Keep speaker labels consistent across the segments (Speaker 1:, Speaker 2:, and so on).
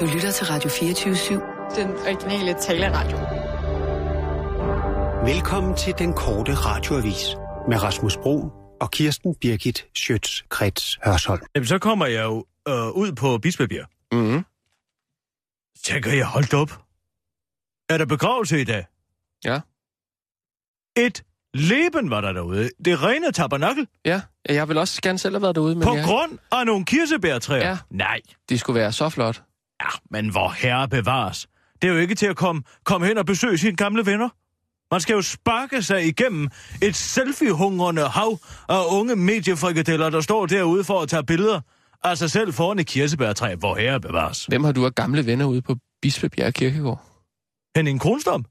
Speaker 1: Du lytter til Radio 24-7.
Speaker 2: Den originale taleradio.
Speaker 3: Velkommen til den korte radioavis med Rasmus Bro og Kirsten Birgit Schøtz-Krets Hørsholm.
Speaker 4: Jamen, så kommer jeg jo øh, ud på Bispebjerg.
Speaker 5: Mm-hmm.
Speaker 4: Så tænker jeg, hold da op. Er der begravelse i dag?
Speaker 5: Ja.
Speaker 4: Et leben var der derude. Det rene tabernakel.
Speaker 5: Ja, jeg vil også gerne selv have været derude, men
Speaker 4: På
Speaker 5: jeg...
Speaker 4: grund af nogle kirsebærtræer?
Speaker 5: Ja.
Speaker 4: Nej.
Speaker 5: det skulle være så flot.
Speaker 4: Ja, men hvor herre bevares. Det er jo ikke til at komme, komme hen og besøge sine gamle venner. Man skal jo sparke sig igennem et selfie-hungrende hav af unge mediefrikadeller, der står derude for at tage billeder af sig selv foran et kirsebærtræ, hvor herre bevares.
Speaker 5: Hvem har du af gamle venner ude på Bispebjerg Kirkegård?
Speaker 4: Henning Kronstam,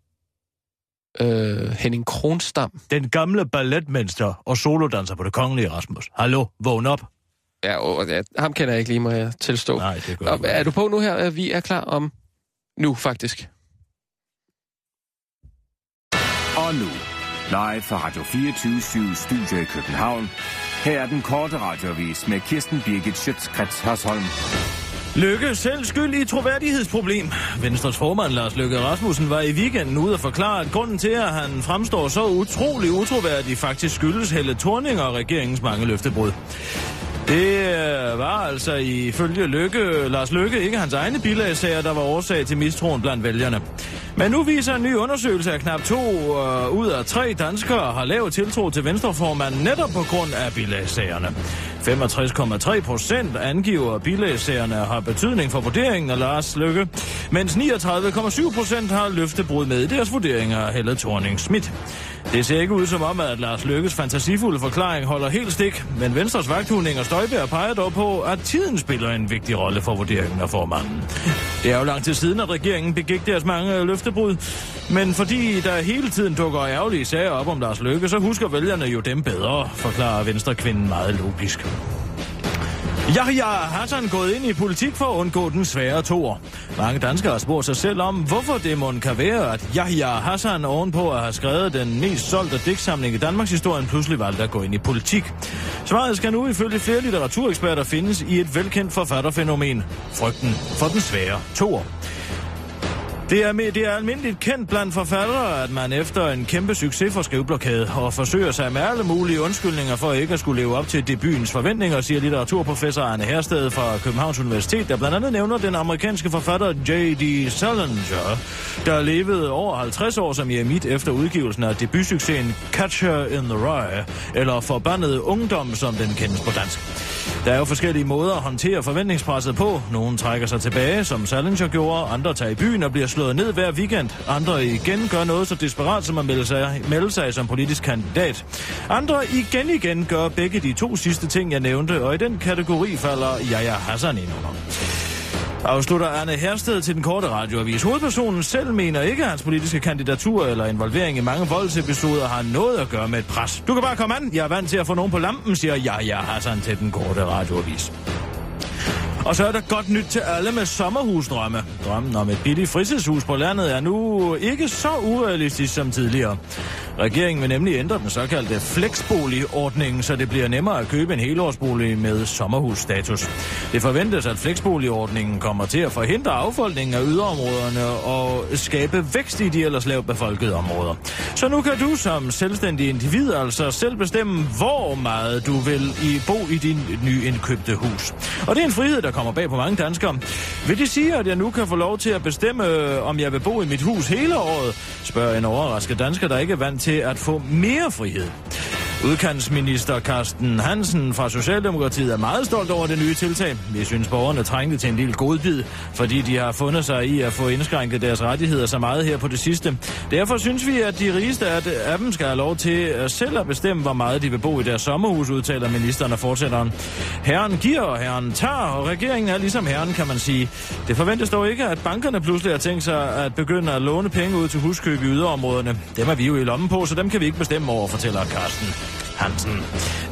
Speaker 5: Øh, Henning Kronstam.
Speaker 4: den gamle balletmester og solodanser på det kongelige Rasmus. Hallo, vågn op.
Speaker 5: Ja, og, ja, ham kender jeg ikke lige, må jeg tilstå.
Speaker 4: Nej, det gør
Speaker 5: Og,
Speaker 4: jeg
Speaker 5: er
Speaker 4: ikke.
Speaker 5: du på nu her? Øh, Vi er klar om... Nu, faktisk.
Speaker 6: Og nu, live fra Radio 24 Studio i København. Her er den korte radiovis med Kirsten Birgit Schøtzgrads Hasholm.
Speaker 4: Lykke selv skyld i troværdighedsproblem. Venstres formand Lars Løkke Rasmussen var i weekenden ude og forklare, at grunden til, at han fremstår så utrolig utroværdig, faktisk skyldes Helle Thorning og regeringens mange løftebrud. Det øh, var altså ifølge Løkke, Lars Løkke ikke hans egne bilagsager, der var årsag til mistroen blandt vælgerne. Men nu viser en ny undersøgelse, at knap to øh, ud af tre danskere har lav tiltro til venstreformanden netop på grund af bilagsagerne. 65,3 procent angiver, at bilagsagerne har betydning for vurderingen af Lars Løkke, mens 39,7 procent har løftebrud med i deres vurdering af Helle thorning Schmidt. Det ser ikke ud som om, at Lars Løkkes fantasifulde forklaring holder helt stik, men Venstres vagthunding og Støjberg peger dog på, at tiden spiller en vigtig rolle for vurderingen af formanden. Det er jo lang tid siden, at regeringen begik deres mange løftebrud, men fordi der hele tiden dukker ærgerlige sager op om Lars Løkke, så husker vælgerne jo dem bedre, forklarer Venstrekvinden meget logisk. Yahya Hassan gået ind i politik for at undgå den svære toer. Mange danskere har spurgt sig selv om, hvorfor det mon kan være, at Yahya Hassan ovenpå at have skrevet den mest solgte digtsamling i Danmarks historie, pludselig valgte at gå ind i politik. Svaret skal nu ifølge flere litteratureksperter findes i et velkendt forfatterfænomen. Frygten for den svære toer. Det er, med, det er almindeligt kendt blandt forfattere, at man efter en kæmpe succes for skriveblokade og forsøger sig med alle mulige undskyldninger for ikke at skulle leve op til debuens forventninger, siger litteraturprofessor Arne Hersted fra Københavns Universitet, der blandt andet nævner den amerikanske forfatter J.D. Salinger, der levede over 50 år som eremit efter udgivelsen af debutsuccesen Catcher in the Rye, eller Forbandet Ungdom, som den kendes på dansk. Der er jo forskellige måder at håndtere forventningspresset på. Nogle trækker sig tilbage, som Salinger gjorde, andre tager i byen og bliver slået ned hver weekend. Andre igen gør noget så desperat som at melde sig, melde sig som politisk kandidat. Andre igen igen gør begge de to sidste ting, jeg nævnte, og i den kategori falder Yahya Hassan ind under. Afslutter Arne Hersted til den korte radioavis. Hovedpersonen selv mener ikke, at hans politiske kandidatur eller involvering i mange voldsepisoder har noget at gøre med et pres. Du kan bare komme an. Jeg er vant til at få nogen på lampen, siger Yahya Hassan til den korte radioavis. Og så er der godt nyt til alle med sommerhusdrømme. Drømmen om et billigt fritidshus på landet er nu ikke så urealistisk som tidligere. Regeringen vil nemlig ændre den såkaldte fleksboligordning, så det bliver nemmere at købe en helårsbolig med sommerhusstatus. Det forventes, at fleksboligordningen kommer til at forhindre affolkningen af yderområderne og skabe vækst i de ellers lavt befolkede områder. Så nu kan du som selvstændig individ altså selv bestemme, hvor meget du vil i bo i din nyindkøbte hus. Og det er en frihed, der kommer bag på mange danskere. Vil det sige, at jeg nu kan få lov til at bestemme, øh, om jeg vil bo i mit hus hele året? Spørger en overrasket dansker, der ikke er vant til at få mere frihed. Udkantsminister Carsten Hansen fra Socialdemokratiet er meget stolt over det nye tiltag. Vi synes, borgerne trængte til en lille godbid, fordi de har fundet sig i at få indskrænket deres rettigheder så meget her på det sidste. Derfor synes vi, at de rigeste af af dem skal have lov til øh, selv at bestemme, hvor meget de vil bo i deres sommerhus, udtaler ministeren og fortsætteren. Herren giver, og herren tager, og regeringen er ligesom herren, kan man sige. Det forventes dog ikke, at bankerne pludselig har tænkt sig at begynde at låne penge ud til huskøb i yderområderne. Dem er vi jo i lommen på, så dem kan vi ikke bestemme over, fortæller Carsten Hansen.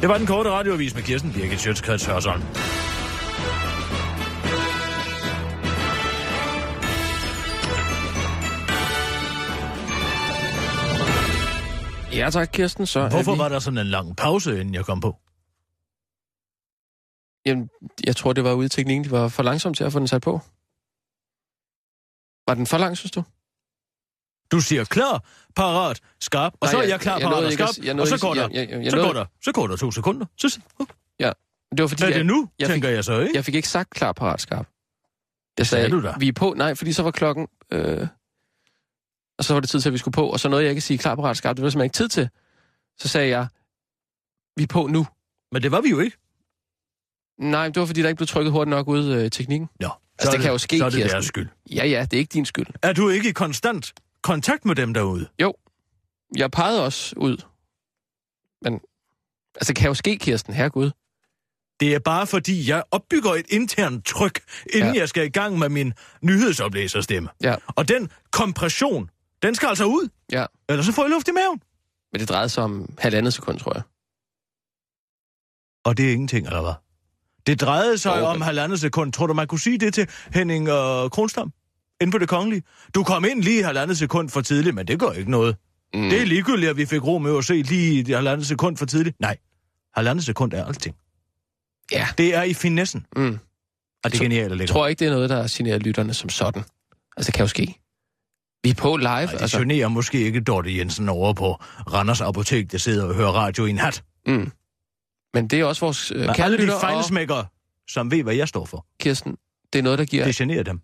Speaker 4: Det var den korte radioavis med Kirsten Birgit Sjøtskrets Hørsholm.
Speaker 5: Ja tak, Kirsten, så er
Speaker 4: Hvorfor
Speaker 5: vi...
Speaker 4: var der sådan en lang pause, inden jeg kom på?
Speaker 5: Jamen, jeg tror, det var ude i teknikken. De var for langsomme til at få den sat på. Var den for lang, synes du?
Speaker 4: Du siger klar, parat, skarp, og
Speaker 5: Nej,
Speaker 4: så er
Speaker 5: jeg-
Speaker 4: jeg klar,
Speaker 5: jeg nåede
Speaker 4: parat og
Speaker 5: ikke at
Speaker 4: skarp,
Speaker 5: s- jeg nåede
Speaker 4: og så
Speaker 5: ikke-
Speaker 4: går der,
Speaker 5: jeg- jeg- jeg- jeg
Speaker 4: så går
Speaker 5: nåede-
Speaker 4: der, så går der to sekunder. Så siger, "Hov,
Speaker 5: Det var fordi,
Speaker 4: er
Speaker 5: jeg,
Speaker 4: det nu,
Speaker 5: jeg fik-
Speaker 4: tænker jeg så, ikke?
Speaker 5: jeg fik ikke sagt klar, parat, skarp. Jeg
Speaker 4: sagde
Speaker 5: sagde,
Speaker 4: du da.
Speaker 5: vi er på. Nej, fordi så var klokken... Øh, og så var det tid til, at vi skulle på, og så nåede jeg ikke at sige klar, parat, skarp. Det var der simpelthen ikke tid til. Så sagde jeg, vi er på nu.
Speaker 4: Men det var vi jo ikke.
Speaker 5: Nej, det var fordi, der ikke blev trykket hurtigt nok ud øh, i teknikken.
Speaker 4: Nå,
Speaker 5: Altså,
Speaker 4: så er
Speaker 5: det kan jo ske,
Speaker 4: Så er det
Speaker 5: Kirsten.
Speaker 4: deres skyld.
Speaker 5: Ja, ja, det er ikke din skyld.
Speaker 4: Er du ikke i konstant kontakt med dem derude?
Speaker 5: Jeg pegede også ud. Men, altså, det kan jo ske, Kirsten, herregud.
Speaker 4: Det er bare fordi, jeg opbygger et internt tryk, inden
Speaker 5: Ja.
Speaker 4: ja. jeg skal i gang med min nyhedsoplæserstemme.
Speaker 5: Ja.
Speaker 4: Og den kompression, den skal altså ud.
Speaker 5: Ja.
Speaker 4: Ellers så får jeg luft i maven.
Speaker 5: Men det drejede sig om halvandet sekund, tror jeg.
Speaker 4: Og det er ingenting, eller hvad? Det drejede sig
Speaker 5: Jo,
Speaker 4: om
Speaker 5: men-
Speaker 4: halvandet sekund. Tror du, man kunne sige det til Henning øh, Kronstam? Inden på det kongelige. Du kom ind lige halvandet sekund for tidligt, men det gør ikke noget. Mm. Det er ligegyldigt, at vi fik Romeo at se lige et halvandet sekund for tidligt. Nej, halvandet sekund er alting.
Speaker 5: Ja.
Speaker 4: Det er i finessen.
Speaker 5: Mm.
Speaker 4: Og det er
Speaker 5: Tro-
Speaker 4: genialt at
Speaker 5: Jeg
Speaker 4: lægge.
Speaker 5: tror ikke, det er noget, der generer lytterne som sådan. Altså, det kan jo ske. Vi er på live,
Speaker 4: Nej, det
Speaker 5: altså.
Speaker 4: generer måske ikke Dorte Jensen over på Randers Apotek, der sidder og hører radio i en hat.
Speaker 5: Mm. Men det er også vores øh,
Speaker 4: Men alle de
Speaker 5: kærlytter og
Speaker 4: fejlsmækkere, som ved, hvad jeg står for,
Speaker 5: Kirsten. Det er noget, der giver,
Speaker 4: det
Speaker 5: det...
Speaker 4: generer dem.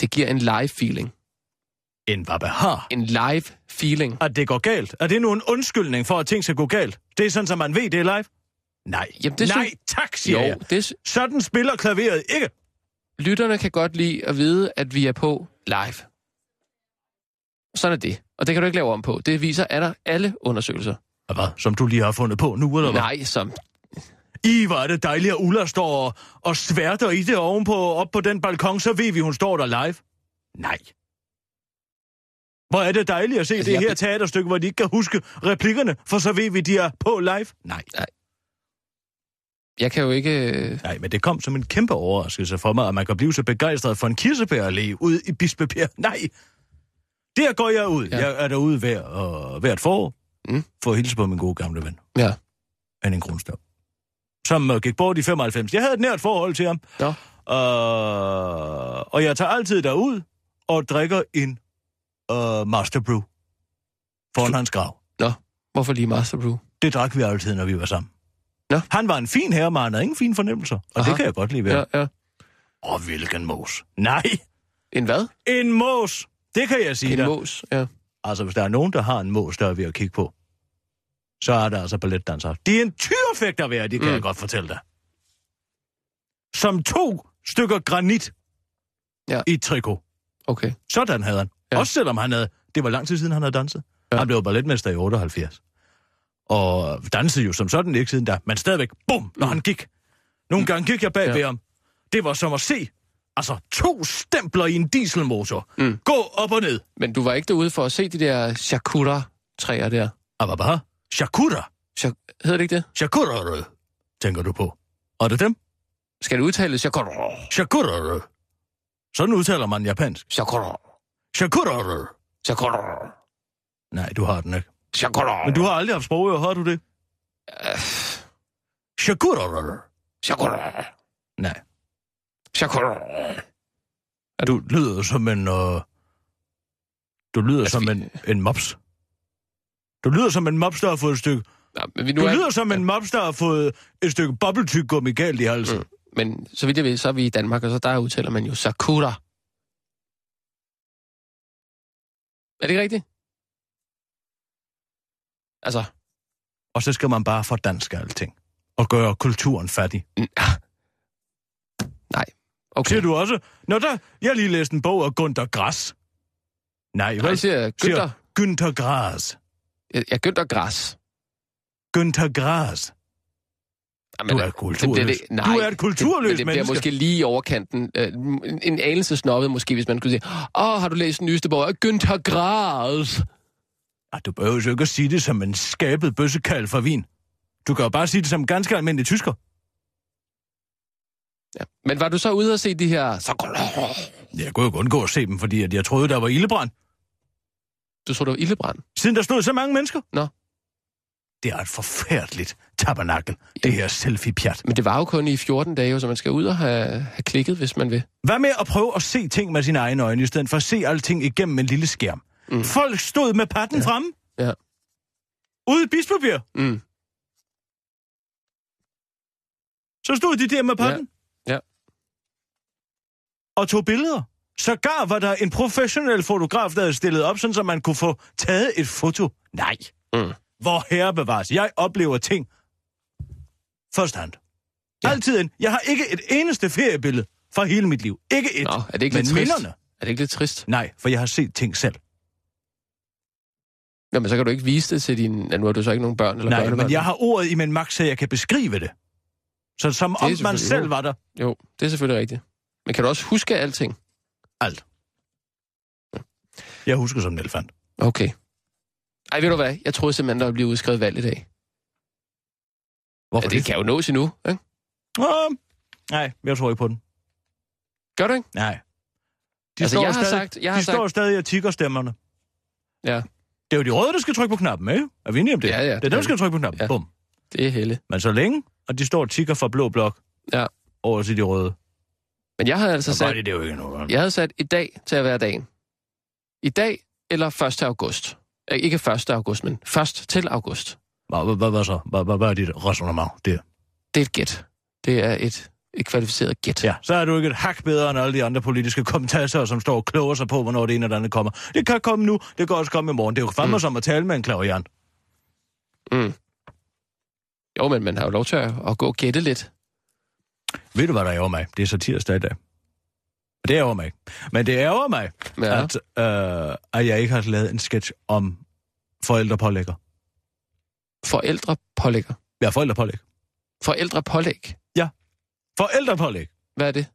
Speaker 5: det giver en live feeling.
Speaker 4: En hvad har.
Speaker 5: En live feeling.
Speaker 4: At det går galt. Er det nu en undskyldning for, at ting skal gå galt? Det er sådan, at man ved, det er live? Nej.
Speaker 5: Jamen, det
Speaker 4: Nej,
Speaker 5: synes-
Speaker 4: tak, siger
Speaker 5: Jo,
Speaker 4: jeg.
Speaker 5: det, s-
Speaker 4: Sådan spiller klaveret ikke.
Speaker 5: lytterne kan godt lide at vide, at vi er på live. Sådan er det. Og det kan du ikke lave om på. Det viser er der alle undersøgelser.
Speaker 4: Og Hvad? Som du lige har fundet på nu, eller hvad?
Speaker 5: Nej, som...
Speaker 4: I, hvor er det dejligt, at Ulla står og, og sværter i det ovenpå, op på den balkon, så ved vi, hun står der live. Nej. Hvor er det dejligt at se altså,
Speaker 5: Altså,
Speaker 4: det
Speaker 5: jeg
Speaker 4: her
Speaker 5: be-
Speaker 4: teaterstykke, hvor de ikke kan huske replikkerne, for så ved vi, de er på live. Nej.
Speaker 5: Jeg kan jo ikke... øh,
Speaker 4: Nej, men det kom som en kæmpe overraskelse for mig, at man kan blive så begejstret for en kirsebærallé ude i Bispebjerg. Nej. Der går jeg ud. Ja.
Speaker 5: Ja.
Speaker 4: Jeg er derude hver, og, hvert forår
Speaker 5: Mm.
Speaker 4: for at hilse på min gode gamle ven,
Speaker 5: Ja.
Speaker 4: Henning Kronstav, som øh, gik bort i 95. Jeg havde et nært forhold til ham.
Speaker 5: Nå.
Speaker 4: Øh, og jeg tager altid derud og drikker en øh, master brew foran hans grav.
Speaker 5: Hvorfor lige Master Brew?
Speaker 4: Det drak vi altid, når vi var sammen.
Speaker 5: Nå.
Speaker 4: Han var en fin herre, men han havde ingen fine fornemmelser. Og Aha.
Speaker 5: Aha.
Speaker 4: det kan jeg godt lide ved ham.
Speaker 5: Ja, ja.
Speaker 4: Og hvilken mos? Nej,
Speaker 5: En hvad?
Speaker 4: en mos! Det kan jeg sige
Speaker 5: En
Speaker 4: dig.
Speaker 5: mås, ja.
Speaker 4: Altså, hvis der er nogen, der har en mos, der er ved at kigge på, så er der altså balletdansere. Det er en tyrefægter værd, det kan
Speaker 5: Mm.
Speaker 4: mm. jeg godt fortælle dig. Som to stykker granit
Speaker 5: Ja.
Speaker 4: i et trikot.
Speaker 5: Okay.
Speaker 4: Sådan havde han.
Speaker 5: Ja.
Speaker 4: Ja. Også selvom han havde... Det var lang tid siden, han havde danset.
Speaker 5: Ja.
Speaker 4: Ja. Han blev balletmester i 78. Og dansede jo som sådan ikke siden da, men stadigvæk, bum, når
Speaker 5: Mm.
Speaker 4: han gik. Nogle mm. gange gik jeg bag
Speaker 5: Ja.
Speaker 4: ja. ved ham. Det var som at se, altså to stempler i en dieselmotor.
Speaker 5: Mm.
Speaker 4: Mm. Gå op og ned.
Speaker 5: Men du var ikke derude for at se de der charcuter-træer der?
Speaker 4: Ababa, Shakura.
Speaker 5: Char- Hedder det ikke det?
Speaker 4: Shakura, tænker du på. Er det dem?
Speaker 5: Skal det udtales charcuter?
Speaker 4: Shakura. Sådan udtaler man japansk.
Speaker 5: Charcuter.
Speaker 4: Shakura.
Speaker 5: Charcuter.
Speaker 4: Nej, du har den ikke.
Speaker 5: Charcuter.
Speaker 4: Men du har aldrig haft sprogører, har du det?
Speaker 5: Øh,
Speaker 4: Shakura.
Speaker 5: Charcuter.
Speaker 4: Nej.
Speaker 5: Charcuter.
Speaker 4: Du lyder som en... Øh, du lyder
Speaker 5: Altså,
Speaker 4: som
Speaker 5: vi-
Speaker 4: en, en mops. Du lyder som en mops, der har fået et stykke...
Speaker 5: Nå, men vi nu
Speaker 4: Du
Speaker 5: er...
Speaker 4: lyder som en mops, der har fået et stykke bobbeltyggummi galt i halsen.
Speaker 5: Mm. Men så vidt jeg ved, så er vi i Danmark, og så der udtaler man jo charcuter. Er det ikke rigtigt? Altså,
Speaker 4: Og så skal man bare fordanske alting. Og gøre kulturen fattig.
Speaker 5: okay.
Speaker 4: Siger du også? Nå da, jeg har lige læst en bog af Gunther Grass. Nej,
Speaker 5: Nej,
Speaker 4: vel?
Speaker 5: jeg siger Günther.
Speaker 4: Günther Grass.
Speaker 5: Jeg, jeg Günther Græs.
Speaker 4: Günther Grass.
Speaker 5: Jamen,
Speaker 4: Du er
Speaker 5: øh,
Speaker 4: kulturløs.
Speaker 5: det- det- nej,
Speaker 4: Du er et kulturløst
Speaker 5: det, men det
Speaker 4: menneske.
Speaker 5: bliver måske lige i overkanten. Øh, en, en anelse snobbet måske, hvis man kunne sige, åh, har du læst den nyeste bog? af Günther Græs.
Speaker 4: Ah, du behøver jo ikke at sige det som en skabet bøssekald fra Wien. Du kan jo bare sige det som ganske almindelig tysker.
Speaker 5: Ja. Men var du så ude og se de her...
Speaker 4: Jeg kunne jo ikke undgå at se dem, fordi at jeg troede, der var ildebrand.
Speaker 5: Du så, det var ildebrand.
Speaker 4: Siden der stod så mange mennesker.
Speaker 5: Nå.
Speaker 4: Det er et forfærdeligt tabernakel, det her selfie-pjat.
Speaker 5: Men det var jo kun i 14 dage, jo, så man skal ud og have, have klikket, hvis man vil.
Speaker 4: Hvad med at prøve at se ting med sine egne øjne, i stedet for at se alting igennem en lille skærm? Mm. Folk stod med patten ja. fremme.
Speaker 5: Ja.
Speaker 4: Ude i bispebjerg.
Speaker 5: Mm.
Speaker 4: Så stod de der med patten.
Speaker 5: Ja. Ja.
Speaker 4: Og tog billeder. Sågar var der en professionel fotograf, der havde stillet op, sådan så man kunne få taget et foto. Nej.
Speaker 5: Mm.
Speaker 4: Hvor herre bevares. Jeg oplever ting first hand. Ja.
Speaker 5: Ja.
Speaker 4: Altid en. Jeg har ikke et eneste feriebillede fra hele mit liv. Ikke et.
Speaker 5: Nå, er det ikke
Speaker 4: Men
Speaker 5: lidt trist?
Speaker 4: minderne?
Speaker 5: Er det ikke lidt trist?
Speaker 4: Nej, for jeg har set ting selv.
Speaker 5: Nå, men så kan du ikke vise det til din... Ja, nu har du så ikke nogen børn eller
Speaker 4: Nej,
Speaker 5: børnebørn.
Speaker 4: men jeg har ordet i min magt, så jeg kan beskrive det. Så som
Speaker 5: er
Speaker 4: om man
Speaker 5: selvfølgelig-
Speaker 4: selv
Speaker 5: jo.
Speaker 4: var der.
Speaker 5: Jo, det er selvfølgelig rigtigt. Men kan du også huske alting?
Speaker 4: Alt. Jeg husker som en elefant.
Speaker 5: Okay. Ej, ved du hvad? Jeg troede simpelthen, der ville blive udskrevet valg i dag.
Speaker 4: Hvorfor
Speaker 5: Ja, det kan jo nås endnu, ikke?
Speaker 4: Åh, nej, jeg tror ikke på den.
Speaker 5: Gør du ikke?
Speaker 4: Nej. De
Speaker 5: Altså,
Speaker 4: står
Speaker 5: jeg har
Speaker 4: stadig,
Speaker 5: sagt- jeg har
Speaker 4: de står
Speaker 5: sagt-
Speaker 4: stadig og tigger stemmerne.
Speaker 5: Ja,
Speaker 4: Det er jo de røde, der skal trykke på knappen, ikke? Er vi enige om det?
Speaker 5: Ja, ja,
Speaker 4: Det er
Speaker 5: det
Speaker 4: dem,
Speaker 5: er
Speaker 4: der skal trykke på knappen. Ja.
Speaker 5: Ja.
Speaker 4: Bum.
Speaker 5: det er helle.
Speaker 4: Men så længe, og de står og tigger fra blå blok
Speaker 5: Ja.
Speaker 4: over til de røde,
Speaker 5: Men jeg havde altså
Speaker 4: så gør
Speaker 5: sat,
Speaker 4: de det jo ikke noget.
Speaker 5: jeg havde sat i dag til at være dagen. I dag eller 1. august. Eh, Ikke 1. august, men først til august.
Speaker 4: Hvad- hvad- hvad- Hvad så? Hvad- hvad- Hvad er dit resonemang? Det.
Speaker 5: Det er et gæt. Det er et, et kvalificeret gæt.
Speaker 4: Ja, så er du ikke et hak bedre end alle de andre politiske kommentatorer, som står og kloger sig på, hvornår det ene eller andet kommer. Det kan komme nu, det kan også komme i morgen. Det er jo fandme mm. som at tale med en klaverjant.
Speaker 5: Jo, men man har jo lov til at, at gå og gætte lidt.
Speaker 4: Ved du, hvad der ærger mig? Det er så tirsdag i dag. Og Det ærger mig ikke. Men det ærger mig,
Speaker 5: Ja.
Speaker 4: at, øh, at jeg ikke har lavet en sketch om forældrepålægger.
Speaker 5: Forældre pålægger.
Speaker 4: Ja, forældrepålæg.
Speaker 5: Forældre pålæg.
Speaker 4: Forældrepålæg.
Speaker 5: Hvad er det?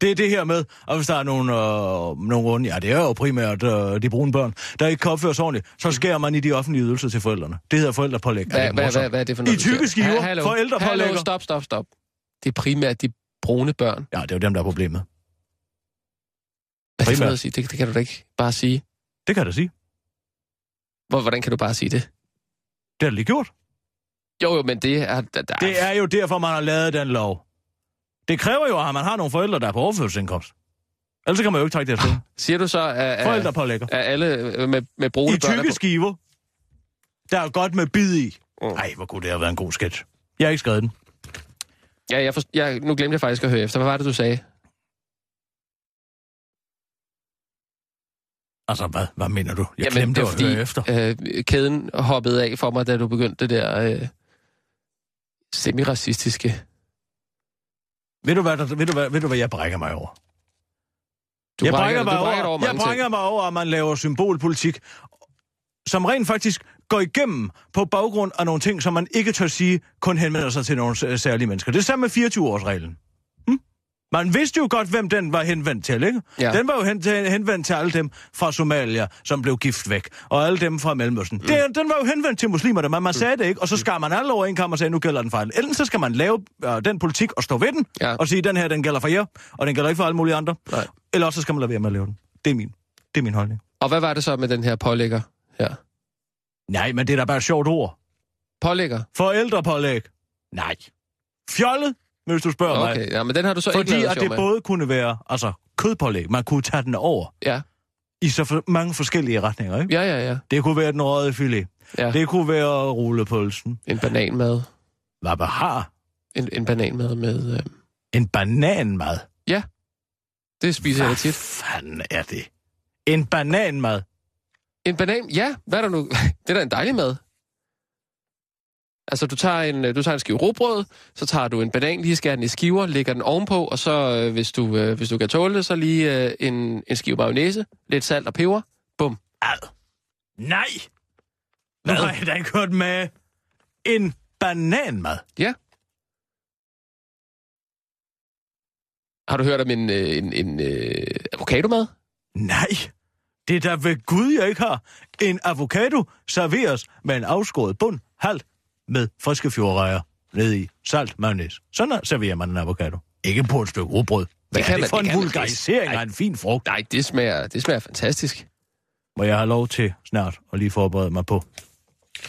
Speaker 4: Det er det her med, at hvis der er nogle, øh, nogle onde, ja, det er jo primært øh, de brune børn, der ikke kan opføres ordentligt,
Speaker 5: Mm.
Speaker 4: så skærer man i de offentlige ydelser til forældrene. Det hedder forældrepålæg. Er
Speaker 5: Hvad,
Speaker 4: det
Speaker 5: hvad,
Speaker 4: morsomt?
Speaker 5: hvad, hvad er det for
Speaker 4: I
Speaker 5: noget? du
Speaker 4: tykke
Speaker 5: siger?
Speaker 4: skiver,
Speaker 5: Ha- hallo,
Speaker 4: forældre
Speaker 5: Hallo,
Speaker 4: pålægger.
Speaker 5: stop, stop, stop. Det er primært de brune børn.
Speaker 4: Ja, det er jo dem, der er problemet.
Speaker 5: Hvad er det, for
Speaker 4: Primært.
Speaker 5: noget at sige? Det, det kan du da ikke bare sige.
Speaker 4: Det kan jeg da sige.
Speaker 5: Hvor, hvordan kan du bare sige det?
Speaker 4: Det er da lige gjort.
Speaker 5: Jo, jo, men det er... Der, der,
Speaker 4: Det er jo derfor, man har lavet den lov. Det kræver jo, at man har nogle forældre, der er på overførselsindkomst. Ellers så kan man jo ikke trække det afsted.
Speaker 5: Siger du så, at, at,
Speaker 4: Forældrepålægger.
Speaker 5: at alle øh, med, med brune
Speaker 4: I
Speaker 5: børn... er
Speaker 4: tykke
Speaker 5: på-
Speaker 4: skiver. Der er godt med bid i.
Speaker 5: Mm.
Speaker 4: Nej, hvor kunne det have været en god sketch. Jeg har ikke skrevet den.
Speaker 5: Ja, jeg, forst- jeg, nu glemte jeg faktisk at høre efter. Hvad var det, du sagde?
Speaker 4: Altså, hvad, hvad mener du? Jeg Jamen, glemte
Speaker 5: det
Speaker 4: det
Speaker 5: var
Speaker 4: at høre efter.
Speaker 5: Øh, kæden hoppede af for mig, da du begyndte det der øh, semiracistiske...
Speaker 4: Ved du, hvad, der, ved, du, hvad, ved du, hvad jeg brækker mig over?
Speaker 5: Du
Speaker 4: jeg brækker,
Speaker 5: brækker-
Speaker 4: mig
Speaker 5: du brækker
Speaker 4: over,
Speaker 5: dig over
Speaker 4: jeg
Speaker 5: mange ting.
Speaker 4: brækker mig over, at man laver symbolpolitik, som rent faktisk går igennem på baggrund af nogle ting, som man ikke tør sige, kun henvender sig til nogle s- særlige mennesker. Det er samme med 24-årsreglen. Hm? Man vidste jo godt, hvem den var henvendt til, ikke?
Speaker 5: Ja.
Speaker 4: Den var jo hen til, henvendt til alle dem fra Somalia, som blev gift væk, og alle dem fra Mellemøsten. Mm. Den, den var jo henvendt til muslimerne, men man sagde det ikke, og så skar man alle over en kamp og sagde, nu gælder den for alle. Enten så skal man lave øh, den politik og stå ved den,
Speaker 5: Ja.
Speaker 4: og sige, den her, den gælder for jer, og den gælder ikke for alle mulige andre.
Speaker 5: Nej.
Speaker 4: Eller også så skal man lade være med at lave den. Det er min, det er min holdning.
Speaker 5: Og hvad var det så med den her pålægger her?
Speaker 4: Nej, men det er da bare et sjovt ord.
Speaker 5: Pålægger?
Speaker 4: Forældrepålæg. Nej. Fjollet, hvis du spørger okay. mig.
Speaker 5: Okay, ja, men den har du så ikke
Speaker 4: Fordi
Speaker 5: lavet
Speaker 4: at
Speaker 5: sjov
Speaker 4: det
Speaker 5: med.
Speaker 4: både kunne være altså, kødpålæg, man kunne tage den over
Speaker 5: Ja,
Speaker 4: i så for- mange forskellige retninger. Ikke?
Speaker 5: ja, ja, ja.
Speaker 4: Det kunne være den røde filet.
Speaker 5: ja.
Speaker 4: Det kunne være rullepølsen.
Speaker 5: En bananmad.
Speaker 4: Hvad man har?
Speaker 5: En, en bananmad med... Øh,
Speaker 4: En bananmad.
Speaker 5: det spiser jeg da
Speaker 4: Hvad
Speaker 5: tit.
Speaker 4: fanden er det? En bananmad.
Speaker 5: En banan? Ja, hvad er der nu? Det er da en dejlig mad. Altså, du tager en, øh, du tager en skive råbrød, så tager du en banan, lige skærer den i skiver, lægger den ovenpå, og så, øh, hvis du, øh, hvis du kan tåle det, så lige øh, en, en skive mayonnaise, lidt salt og peber. Bum.
Speaker 4: Ad. Nej. Nu har jeg da ikke hørt med en bananmad.
Speaker 5: Ja. Har du hørt om en, øh, en, en øh, avocadomad?
Speaker 4: Nej, det er da ved Gud, jeg ikke har. En avocado serveres med en afskåret bund, halvt med friske fjordrejer ned i salt mayonnaise. Sådan her serverer man en avocado. Ikke på et stykke rugbrød. Hvad det
Speaker 5: kan
Speaker 4: er det
Speaker 5: man-
Speaker 4: for
Speaker 5: det
Speaker 4: en
Speaker 5: kan man
Speaker 4: vulgarisering
Speaker 5: ikke.
Speaker 4: af en fin frugt?
Speaker 5: Nej, det smager, det smager fantastisk.
Speaker 4: Må jeg have lov til snart at lige forberede mig på,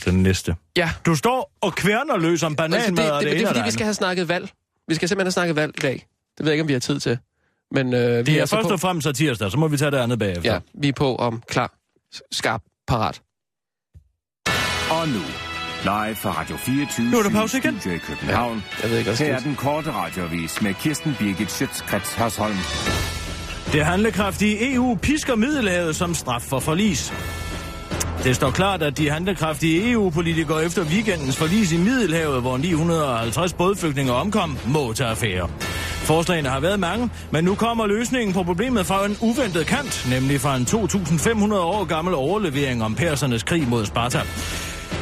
Speaker 4: den næste.
Speaker 5: Ja.
Speaker 4: Du står og kværner løs om bananmad
Speaker 5: Altså, det,
Speaker 4: og
Speaker 5: det,
Speaker 4: det,
Speaker 5: det, det er
Speaker 4: ene og
Speaker 5: fordi,
Speaker 4: det
Speaker 5: vi skal
Speaker 4: andet.
Speaker 5: have snakket valg. Vi skal simpelthen have snakket valg i dag. Det ved jeg ikke, om vi har tid til. Men øh, vi
Speaker 4: Det
Speaker 5: er,
Speaker 4: er
Speaker 5: så
Speaker 4: først
Speaker 5: på.
Speaker 4: og fremmest så tirsdag, så må vi tage det andet bagefter.
Speaker 5: Ja, vi er på om klar, s- skarp, parat.
Speaker 6: Og nu, live fra Radio 24.
Speaker 4: Nu er der pause igen.
Speaker 6: Studio i København.
Speaker 5: Jeg ved ikke, hvad
Speaker 6: Her
Speaker 5: jeg
Speaker 6: er
Speaker 5: skal
Speaker 6: den korte radiovis med Kirsten Birgit Schøtzgrads Hasholm.
Speaker 4: Det handlekraftige EU pisker Middelhavet som straf for forlis. Det står klart, at de handlekraftige EU-politikere efter weekendens forlis i Middelhavet, hvor 950 bådflygtninge omkom, må tage affære. Forslagene har været mange, men nu kommer løsningen på problemet fra en uventet kant, nemlig fra en 2.500 år gammel overlevering om persernes krig mod Sparta.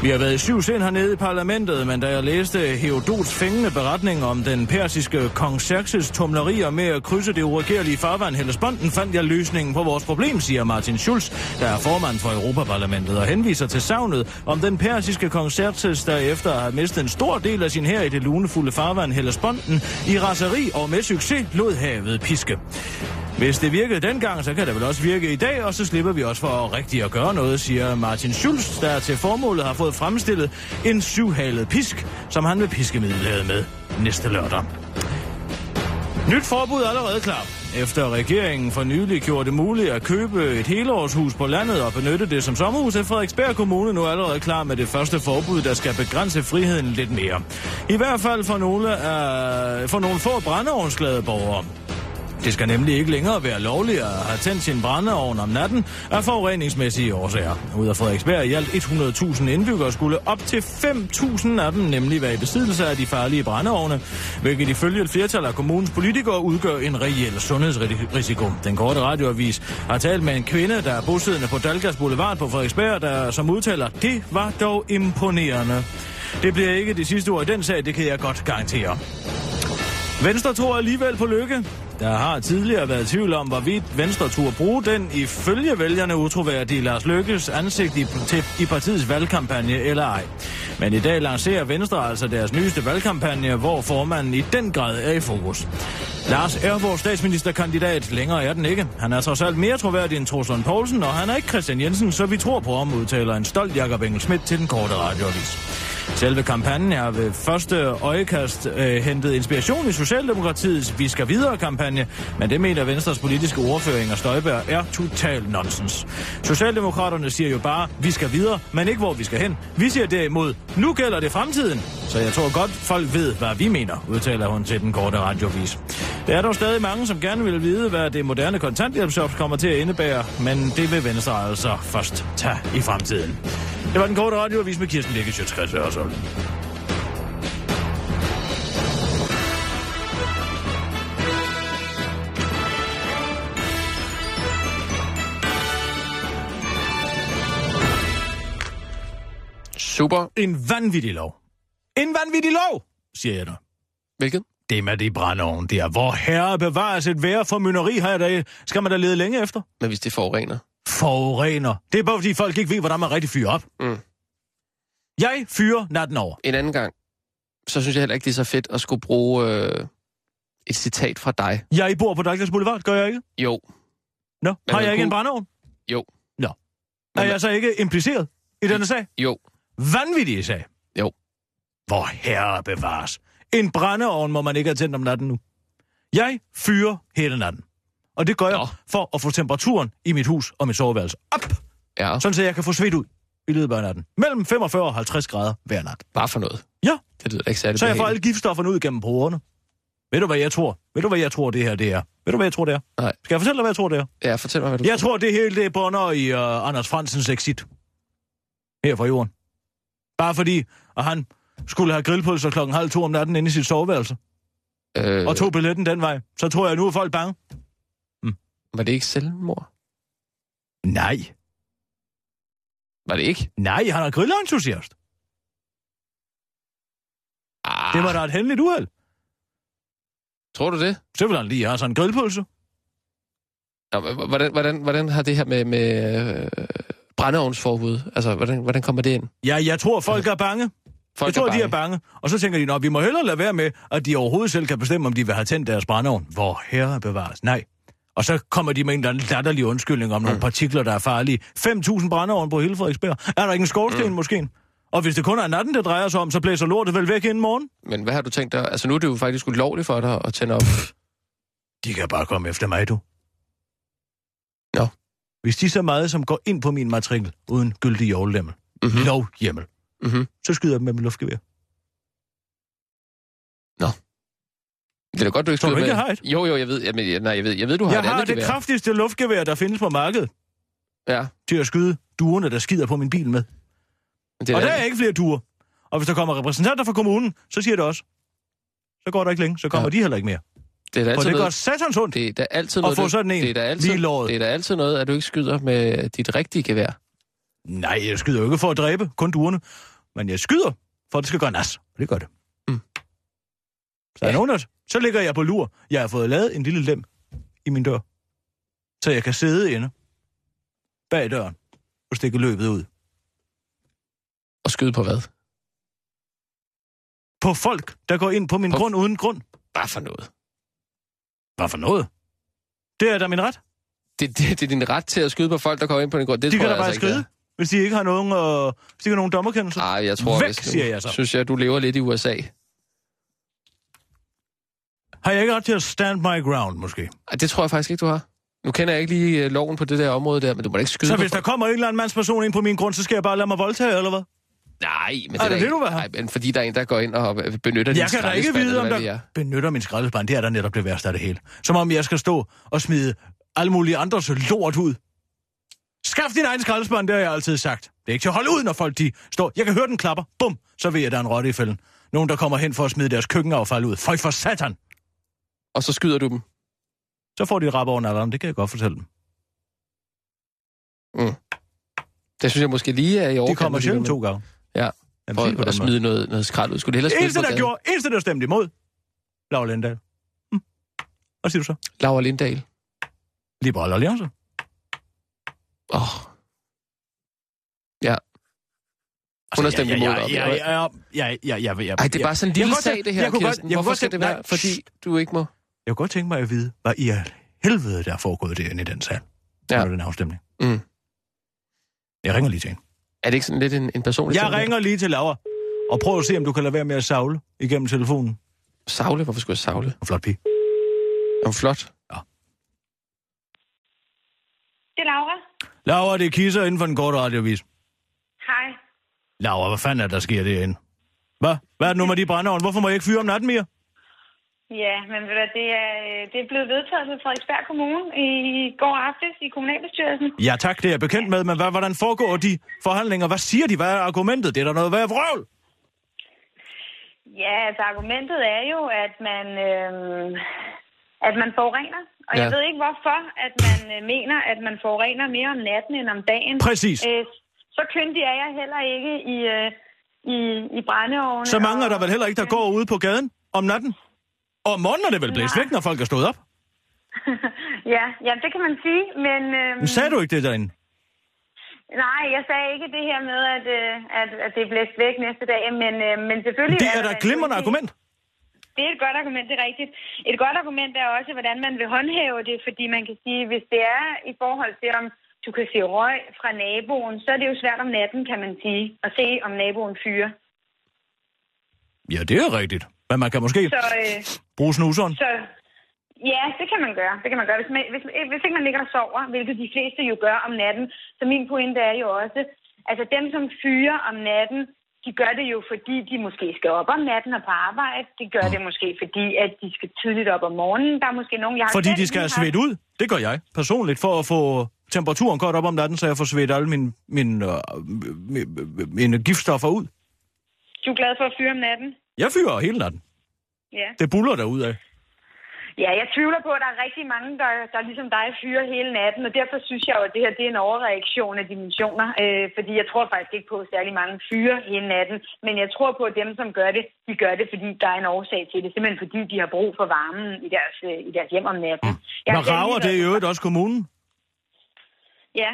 Speaker 4: Vi har været i syv sind hernede i parlamentet, men da jeg læste Herodots fængende beretning om den persiske kong Xerxes tumlerier med at krydse det uregerlige farvand Hellesponten, fandt jeg løsningen på vores problem, siger Martin Schulz, der er formand for Europaparlamentet, og henviser til savnet om den persiske kong Xerxes, der efter at have mistet en stor del af sin hær i det lunefulde farvand Hellesponten, i raseri og med succes lod havet piske. Hvis det virkede dengang, så kan det vel også virke i dag, og så slipper vi også for rigtigt at gøre noget, siger Martin Schulz, der til formålet har fået fremstillet en syvhalet pisk, som han vil piske middelhavet med næste lørdag. Nyt forbud er allerede klar. Efter regeringen for nylig gjorde det muligt at købe et helårshus på landet og benytte det som sommerhus, er Frederiksberg Kommune nu allerede klar med det første forbud, der skal begrænse friheden lidt mere. I hvert fald for nogle, af, for nogle få brændeovnsglade borgere. Det skal nemlig ikke længere være lovligt at have tændt sin brændeovn om natten af forureningsmæssige årsager. Ud af Frederiksberg i alt 100.000 indbyggere skulle op til 5.000 af dem nemlig være i besiddelse af de farlige brændeovne, hvilket ifølge et flertal af kommunens politikere udgør en reel sundhedsrisiko. Den korte radioavis har talt med en kvinde, der er bosiddende på Dalgas Boulevard på Frederiksberg, der som udtaler, det var dog imponerende. Det bliver ikke det sidste ord i den sag, det kan jeg godt garantere. Venstre tror alligevel på lykke. Der har tidligere været tvivl om, hvorvidt Venstre turde bruge den ifølge vælgerne utroværdige Lars Lykkes ansigt i, til, i partiets valgkampagne eller ej. Men i dag lancerer Venstre altså deres nyeste valgkampagne, hvor formanden i den grad er i fokus. Lars er vores statsministerkandidat. Længere er den ikke. Han er trods alt mere troværdig end Truslund Poulsen, og han er ikke Christian Jensen, så vi tror på ham, udtaler en stolt Jakob Engel Schmidt til den korte radioavis. Selve kampagnen har ved første øjekast øh, hentet inspiration i Socialdemokratiets Vi skal videre-kampagne, men det mener Venstres politiske ordfører Inger Støjberg er total nonsens. Socialdemokraterne siger jo bare, vi skal videre, men ikke hvor vi skal hen. Vi siger derimod, nu gælder det fremtiden. Så jeg tror godt, folk ved, hvad vi mener, udtaler hun til den korte radiovis. Der er dog stadig mange, som gerne vil vide, hvad det moderne kontanthjælpsjob kommer til at indebære, men det vil Venstre altså først tage i fremtiden. Det var den korte radioavis med Kirsten Lække, Sjøtskreds Hørsholm.
Speaker 5: Super.
Speaker 4: En vanvittig lov. En vanvittig lov, siger jeg da.
Speaker 5: Hvilket?
Speaker 4: Det med de brændeovn der, hvor herre bevares et værre for mynderi her i dag, skal man da lede længe efter.
Speaker 5: Men hvis det forurener.
Speaker 4: Forurener. Det er bare fordi folk ikke ved, hvordan man rigtig fyrer op.
Speaker 5: Mm.
Speaker 4: Jeg fyrer natten over.
Speaker 5: En anden gang, så synes jeg heller ikke, det er så fedt at skulle bruge øh, et citat fra dig.
Speaker 4: Jeg bor på Dalgas Boulevard, gør jeg ikke?
Speaker 5: Jo,
Speaker 4: Nå, har
Speaker 5: man
Speaker 4: jeg ikke en
Speaker 5: kunne-
Speaker 4: brændeovn?
Speaker 5: Jo.
Speaker 4: Nå. Er
Speaker 5: Men-
Speaker 4: jeg så ikke impliceret i denne sag?
Speaker 5: jo.
Speaker 4: Vanvittige sag.
Speaker 5: Jo.
Speaker 4: Hvor herre bevares. En brændeovn må man ikke have tændt om natten nu. Jeg fyrer hele natten. Og det gør jeg
Speaker 5: Nå.
Speaker 4: for at få temperaturen i mit hus og mit soveværelse op,
Speaker 5: Ja,
Speaker 4: sådan så jeg kan få svedt ud i løbet af natten. Mellem 45 og 50 grader hver nat.
Speaker 5: bare for noget.
Speaker 4: Ja.
Speaker 5: Det lyder da ikke særlig
Speaker 4: Så jeg får alle
Speaker 5: behageligt.
Speaker 4: giftstofferne ud gennem porerne. Ved du, hvad jeg tror? Ved du, hvad jeg tror, det her det er? Ved du, hvad jeg tror, det er?
Speaker 5: Nej.
Speaker 4: Skal jeg fortælle dig, hvad jeg tror, det er?
Speaker 5: Ja, fortæl mig, hvad du...
Speaker 4: Jeg tror, det hele det bunder i uh, Anders Fransens exit. Her fra jorden. Bare fordi, at han skulle have grillpølser klokken halv to om natten inde i sit soveværelse,
Speaker 5: Øh,
Speaker 4: og tog billetten den vej, så tror jeg, nu er folk bange.
Speaker 5: Var det ikke selvmord?
Speaker 4: Nej.
Speaker 5: Var det ikke?
Speaker 4: Nej, han er grillerentusiast.
Speaker 5: Ah,
Speaker 4: Det var da et hændeligt uheld.
Speaker 5: Tror du det?
Speaker 4: Så vil han lige have sådan en grillpølse.
Speaker 5: Nå, h- hvordan, hvordan, hvordan har det her med, med øh, brændeovnsforbud, altså hvordan, hvordan kommer det ind?
Speaker 4: Ja, jeg tror, folk er bange.
Speaker 5: Folk
Speaker 4: jeg tror,
Speaker 5: er bange.
Speaker 4: de er bange. Og så tænker de, at vi må hellere lade være med, at de overhovedet selv kan bestemme, om de vil have tændt deres brændeovn. Hvor herre bevares. Nej. Og så kommer de med en eller anden latterlig undskyldning om nogle partikler, der er farlige. 5.000 brændeovn på hele Frederiksberg. Er der ikke en skorsten mm. måske? Og hvis det kun er natten, det drejer sig om, så blæser lortet vel væk inden morgen?
Speaker 5: Men hvad har du tænkt dig? Altså, nu er det jo faktisk ulovligt for dig at tænde op.
Speaker 4: De kan bare komme efter mig, du.
Speaker 5: Nå.
Speaker 4: Hvis de så meget, som går ind på min matrikel uden gyldig jovlemmel,
Speaker 5: Mhm.
Speaker 4: mm. lovhjemmel,
Speaker 5: Mhm.
Speaker 4: så skyder jeg dem med min luftgevær.
Speaker 5: Det er da godt, du ikke
Speaker 4: Tror du
Speaker 5: skyder
Speaker 4: ikke,
Speaker 5: med-
Speaker 4: jeg har et?
Speaker 5: Jo, jo, jeg ved, jamen, jeg, nej, jeg ved, jeg ved, du har
Speaker 4: Jeg
Speaker 5: et
Speaker 4: har
Speaker 5: andet
Speaker 4: det
Speaker 5: gevær.
Speaker 4: kraftigste luftgevær, der findes på markedet,
Speaker 5: Ja,
Speaker 4: til at skyde duerne, der skider på min bil med.
Speaker 5: men det er
Speaker 4: Og
Speaker 5: da-
Speaker 4: der er ikke flere duer. Og hvis der kommer repræsentanter fra kommunen, så siger det også. Så går der ikke længe, så kommer
Speaker 5: Ja.
Speaker 4: ja. de heller ikke mere.
Speaker 5: det er da
Speaker 4: For
Speaker 5: altid
Speaker 4: det gør
Speaker 5: noget,
Speaker 4: satans ondt.
Speaker 5: det er da altid
Speaker 4: at
Speaker 5: noget,
Speaker 4: få
Speaker 5: du-
Speaker 4: sådan en
Speaker 5: det er da altid,
Speaker 4: lige i låret.
Speaker 5: det er da altid noget, at du ikke skyder med dit rigtige gevær.
Speaker 4: Nej, jeg skyder jo ikke for at dræbe, kun duerne. Men jeg skyder, for at det skal gøre nas. Og det gør det.
Speaker 5: Mm.
Speaker 4: Mm. Så er
Speaker 5: Ja.
Speaker 4: nogen af os. Så ligger jeg på lur. Jeg har fået lavet en lille lem i min dør. Så jeg kan sidde inde bag døren og stikke løbet ud.
Speaker 5: Og skyde på hvad?
Speaker 4: På folk, der går ind på min
Speaker 5: På-
Speaker 4: på... grund uden grund.
Speaker 5: Bare for noget.
Speaker 4: Hvad for noget? Det er da min ret.
Speaker 5: Det, det, det er din ret til at skyde på folk, der kommer ind på din grund. Det
Speaker 4: De
Speaker 5: tror
Speaker 4: kan da
Speaker 5: jeg
Speaker 4: bare
Speaker 5: altså ikke, det er. Ah.
Speaker 4: skride, hvis de ikke har nogen, øh, hvis de ikke har nogen dommerkendelse.
Speaker 5: Nej, jeg tror,
Speaker 4: Væk,
Speaker 5: hvis nu,
Speaker 4: siger jeg så.
Speaker 5: synes jeg, du lever lidt i USA.
Speaker 4: Har jeg ikke ret til at stand my ground, måske?
Speaker 5: Ej, det tror jeg faktisk ikke, du har. Nu kender jeg ikke lige øh, loven på det der område der, men du må da ikke skyde
Speaker 4: Så
Speaker 5: på
Speaker 4: hvis der
Speaker 5: folk.
Speaker 4: kommer en eller anden mandsperson ind på min grund, så skal jeg bare lade mig voldtage, eller hvad?
Speaker 5: Nej, men det
Speaker 4: Er det
Speaker 5: er der
Speaker 4: det,
Speaker 5: ikke-
Speaker 4: du vil have?
Speaker 5: Nej, men fordi der er en, der går ind og øh, benytter din
Speaker 4: Jeg kan da ikke
Speaker 5: skraldespand,
Speaker 4: vide, om
Speaker 5: eller hvad
Speaker 4: der
Speaker 5: det er.
Speaker 4: benytter min skraldespand. Det er da netop det værste af det hele. Som om jeg skal stå og smide alle mulige andres lort ud. Skaf din egen skraldespand, det har jeg altid sagt. Det er ikke til at holde ud, når folk de står. Jeg kan høre den klapper. Bum, så ved jeg, der er en rotte i fælden. Nogen, der kommer hen for at smide deres køkkenaffald ud. Føj for satan!
Speaker 5: Og så skyder du dem.
Speaker 4: Så får de et rap over nalderen, det kan jeg godt fortælle dem.
Speaker 5: Det synes jeg måske lige er i
Speaker 4: De
Speaker 5: overkanten.
Speaker 4: kommer sjældent
Speaker 5: alligevel.
Speaker 4: to gange.
Speaker 5: Ja.
Speaker 4: Jamen, se
Speaker 5: for
Speaker 4: på
Speaker 5: at,
Speaker 4: den
Speaker 5: at
Speaker 4: måde.
Speaker 5: smide noget, noget skrald ud. Skulle det hellere
Speaker 4: Det
Speaker 5: smide
Speaker 4: eneste,
Speaker 5: på
Speaker 4: der
Speaker 5: gaden?
Speaker 4: gjorde, eneste, der stemte imod, Laura Lindahl. Hm. Hvad siger du så?
Speaker 5: Laura Lindahl.
Speaker 4: Liberal Alliance. Altså,
Speaker 5: Åh. Oh. Ja. Hun har stemt imod. om det,
Speaker 4: Ja,
Speaker 5: eller hvad?
Speaker 4: ja, ja, ja, ja, ja.
Speaker 5: Ej, det er bare sådan
Speaker 4: Jeg
Speaker 5: en lille
Speaker 4: kunne godt
Speaker 5: sag,
Speaker 4: tænke-
Speaker 5: det her,
Speaker 4: jeg kunne godt-
Speaker 5: Kirsten.
Speaker 4: jeg kunne
Speaker 5: Hvorfor
Speaker 4: godt
Speaker 5: skal det
Speaker 4: tænke-
Speaker 5: være?
Speaker 4: nej,
Speaker 5: Fordi du ikke må...
Speaker 4: Jeg kunne godt tænke mig at vide, hvad i al helvede, der er foregået derinde i den sal.
Speaker 5: Ja.
Speaker 4: Ja. Under den afstemning.
Speaker 5: Mm.
Speaker 4: Jeg ringer lige til hende.
Speaker 5: Er det ikke sådan lidt en, en personlig
Speaker 4: Jeg
Speaker 5: ting?
Speaker 4: ringer lige til Laura. Og prøv at se, om du kan lade være med at savle igennem telefonen.
Speaker 5: Savle? Hvorfor skulle jeg savle?
Speaker 4: Og flot pige.
Speaker 5: Er hun flot?
Speaker 7: Det er Laura.
Speaker 4: Laura, det kisser inden for den korte radiovis.
Speaker 7: Hej.
Speaker 4: Laura, hvad fanden er det, der sker derinde? Hvad? Hvad er det nu med de brændeovne? Hvorfor må jeg ikke fyre om natten mere?
Speaker 7: Ja, men ved du hvad, det er, øh, det er blevet vedtaget ved Frederiksberg Kommune i går aftes i kommunalbestyrelsen.
Speaker 4: Ja tak, det er jeg bekendt med, men hvad, hvordan foregår de forhandlinger? Hvad siger de? Hvad er argumentet? Det er der noget værd vrøvl.
Speaker 7: Ja, altså argumentet er jo, at man, øh, at man forurener. Og ja. jeg
Speaker 5: Ja.
Speaker 7: ved ikke hvorfor, at man øh, mener, at man forurener mere om natten end om dagen.
Speaker 4: Præcis.
Speaker 7: Øh, så kyndig er jeg heller ikke i, øh, i, i brændeovne.
Speaker 4: Så mange er
Speaker 7: og-
Speaker 4: der vel heller ikke, der går ude på gaden om natten? Og om morgenen er det vel blæst
Speaker 7: Nej.
Speaker 4: væk, når folk er stået op?
Speaker 7: ja, ja, det kan man sige, men... Øh,
Speaker 4: Men sagde du ikke det derinde?
Speaker 7: Nej, jeg sagde ikke det her med, at, øh, at, at det blev væk næste dag, men, øh, men selvfølgelig...
Speaker 4: Det er
Speaker 7: der
Speaker 4: da
Speaker 7: en
Speaker 4: et glimrende
Speaker 7: politik.
Speaker 4: argument.
Speaker 7: Det er et godt argument, det er rigtigt. Et godt argument er også, hvordan man vil håndhæve det, fordi man kan sige, hvis det er i forhold til, om du kan se røg fra naboen, så er det jo svært om natten, kan man sige, at se, om naboen fyrer.
Speaker 4: Ja, det er rigtigt. Men man kan måske
Speaker 7: Så, øh,
Speaker 4: bruge snuseren.
Speaker 7: så ja, det kan man gøre. Det kan man gøre. Hvis, man, hvis, hvis ikke man ligger og sover, hvilket de fleste jo gør om natten, så min pointe er jo også, altså dem, som fyrer om natten, de gør det jo, fordi de måske skal op om natten og på arbejde. De gør det måske, fordi at de skal tidligt op om morgenen. Der er måske nogen, jeg har
Speaker 4: Fordi
Speaker 7: selv
Speaker 4: de skal have
Speaker 7: lige haft-
Speaker 4: svedt ud. Det gør jeg personligt, for at få temperaturen godt op om natten, så jeg får svedt alle mine, mine, øh, mine, mine giftstoffer ud.
Speaker 7: Du er glad for at fyre om natten?
Speaker 4: Jeg fyrer hele natten.
Speaker 7: Ja.
Speaker 4: Det buller der ud af.
Speaker 7: Ja, jeg tvivler på, at der er rigtig mange, der, der ligesom dig fyrer hele natten, og derfor synes jeg jo, at det her det er en overreaktion af dimensioner, øh, fordi jeg tror faktisk ikke på, at særlig mange fyrer hele natten, men jeg tror på, at dem, som gør det, de gør det, fordi der er en årsag til det, simpelthen fordi de har brug for varmen i deres, øh, i deres hjem om natten.
Speaker 5: Mm.
Speaker 7: Jeg har
Speaker 4: Men
Speaker 7: selv
Speaker 4: rager
Speaker 7: lige
Speaker 4: det i
Speaker 7: været-
Speaker 4: øvrigt også kommunen?
Speaker 7: Ja.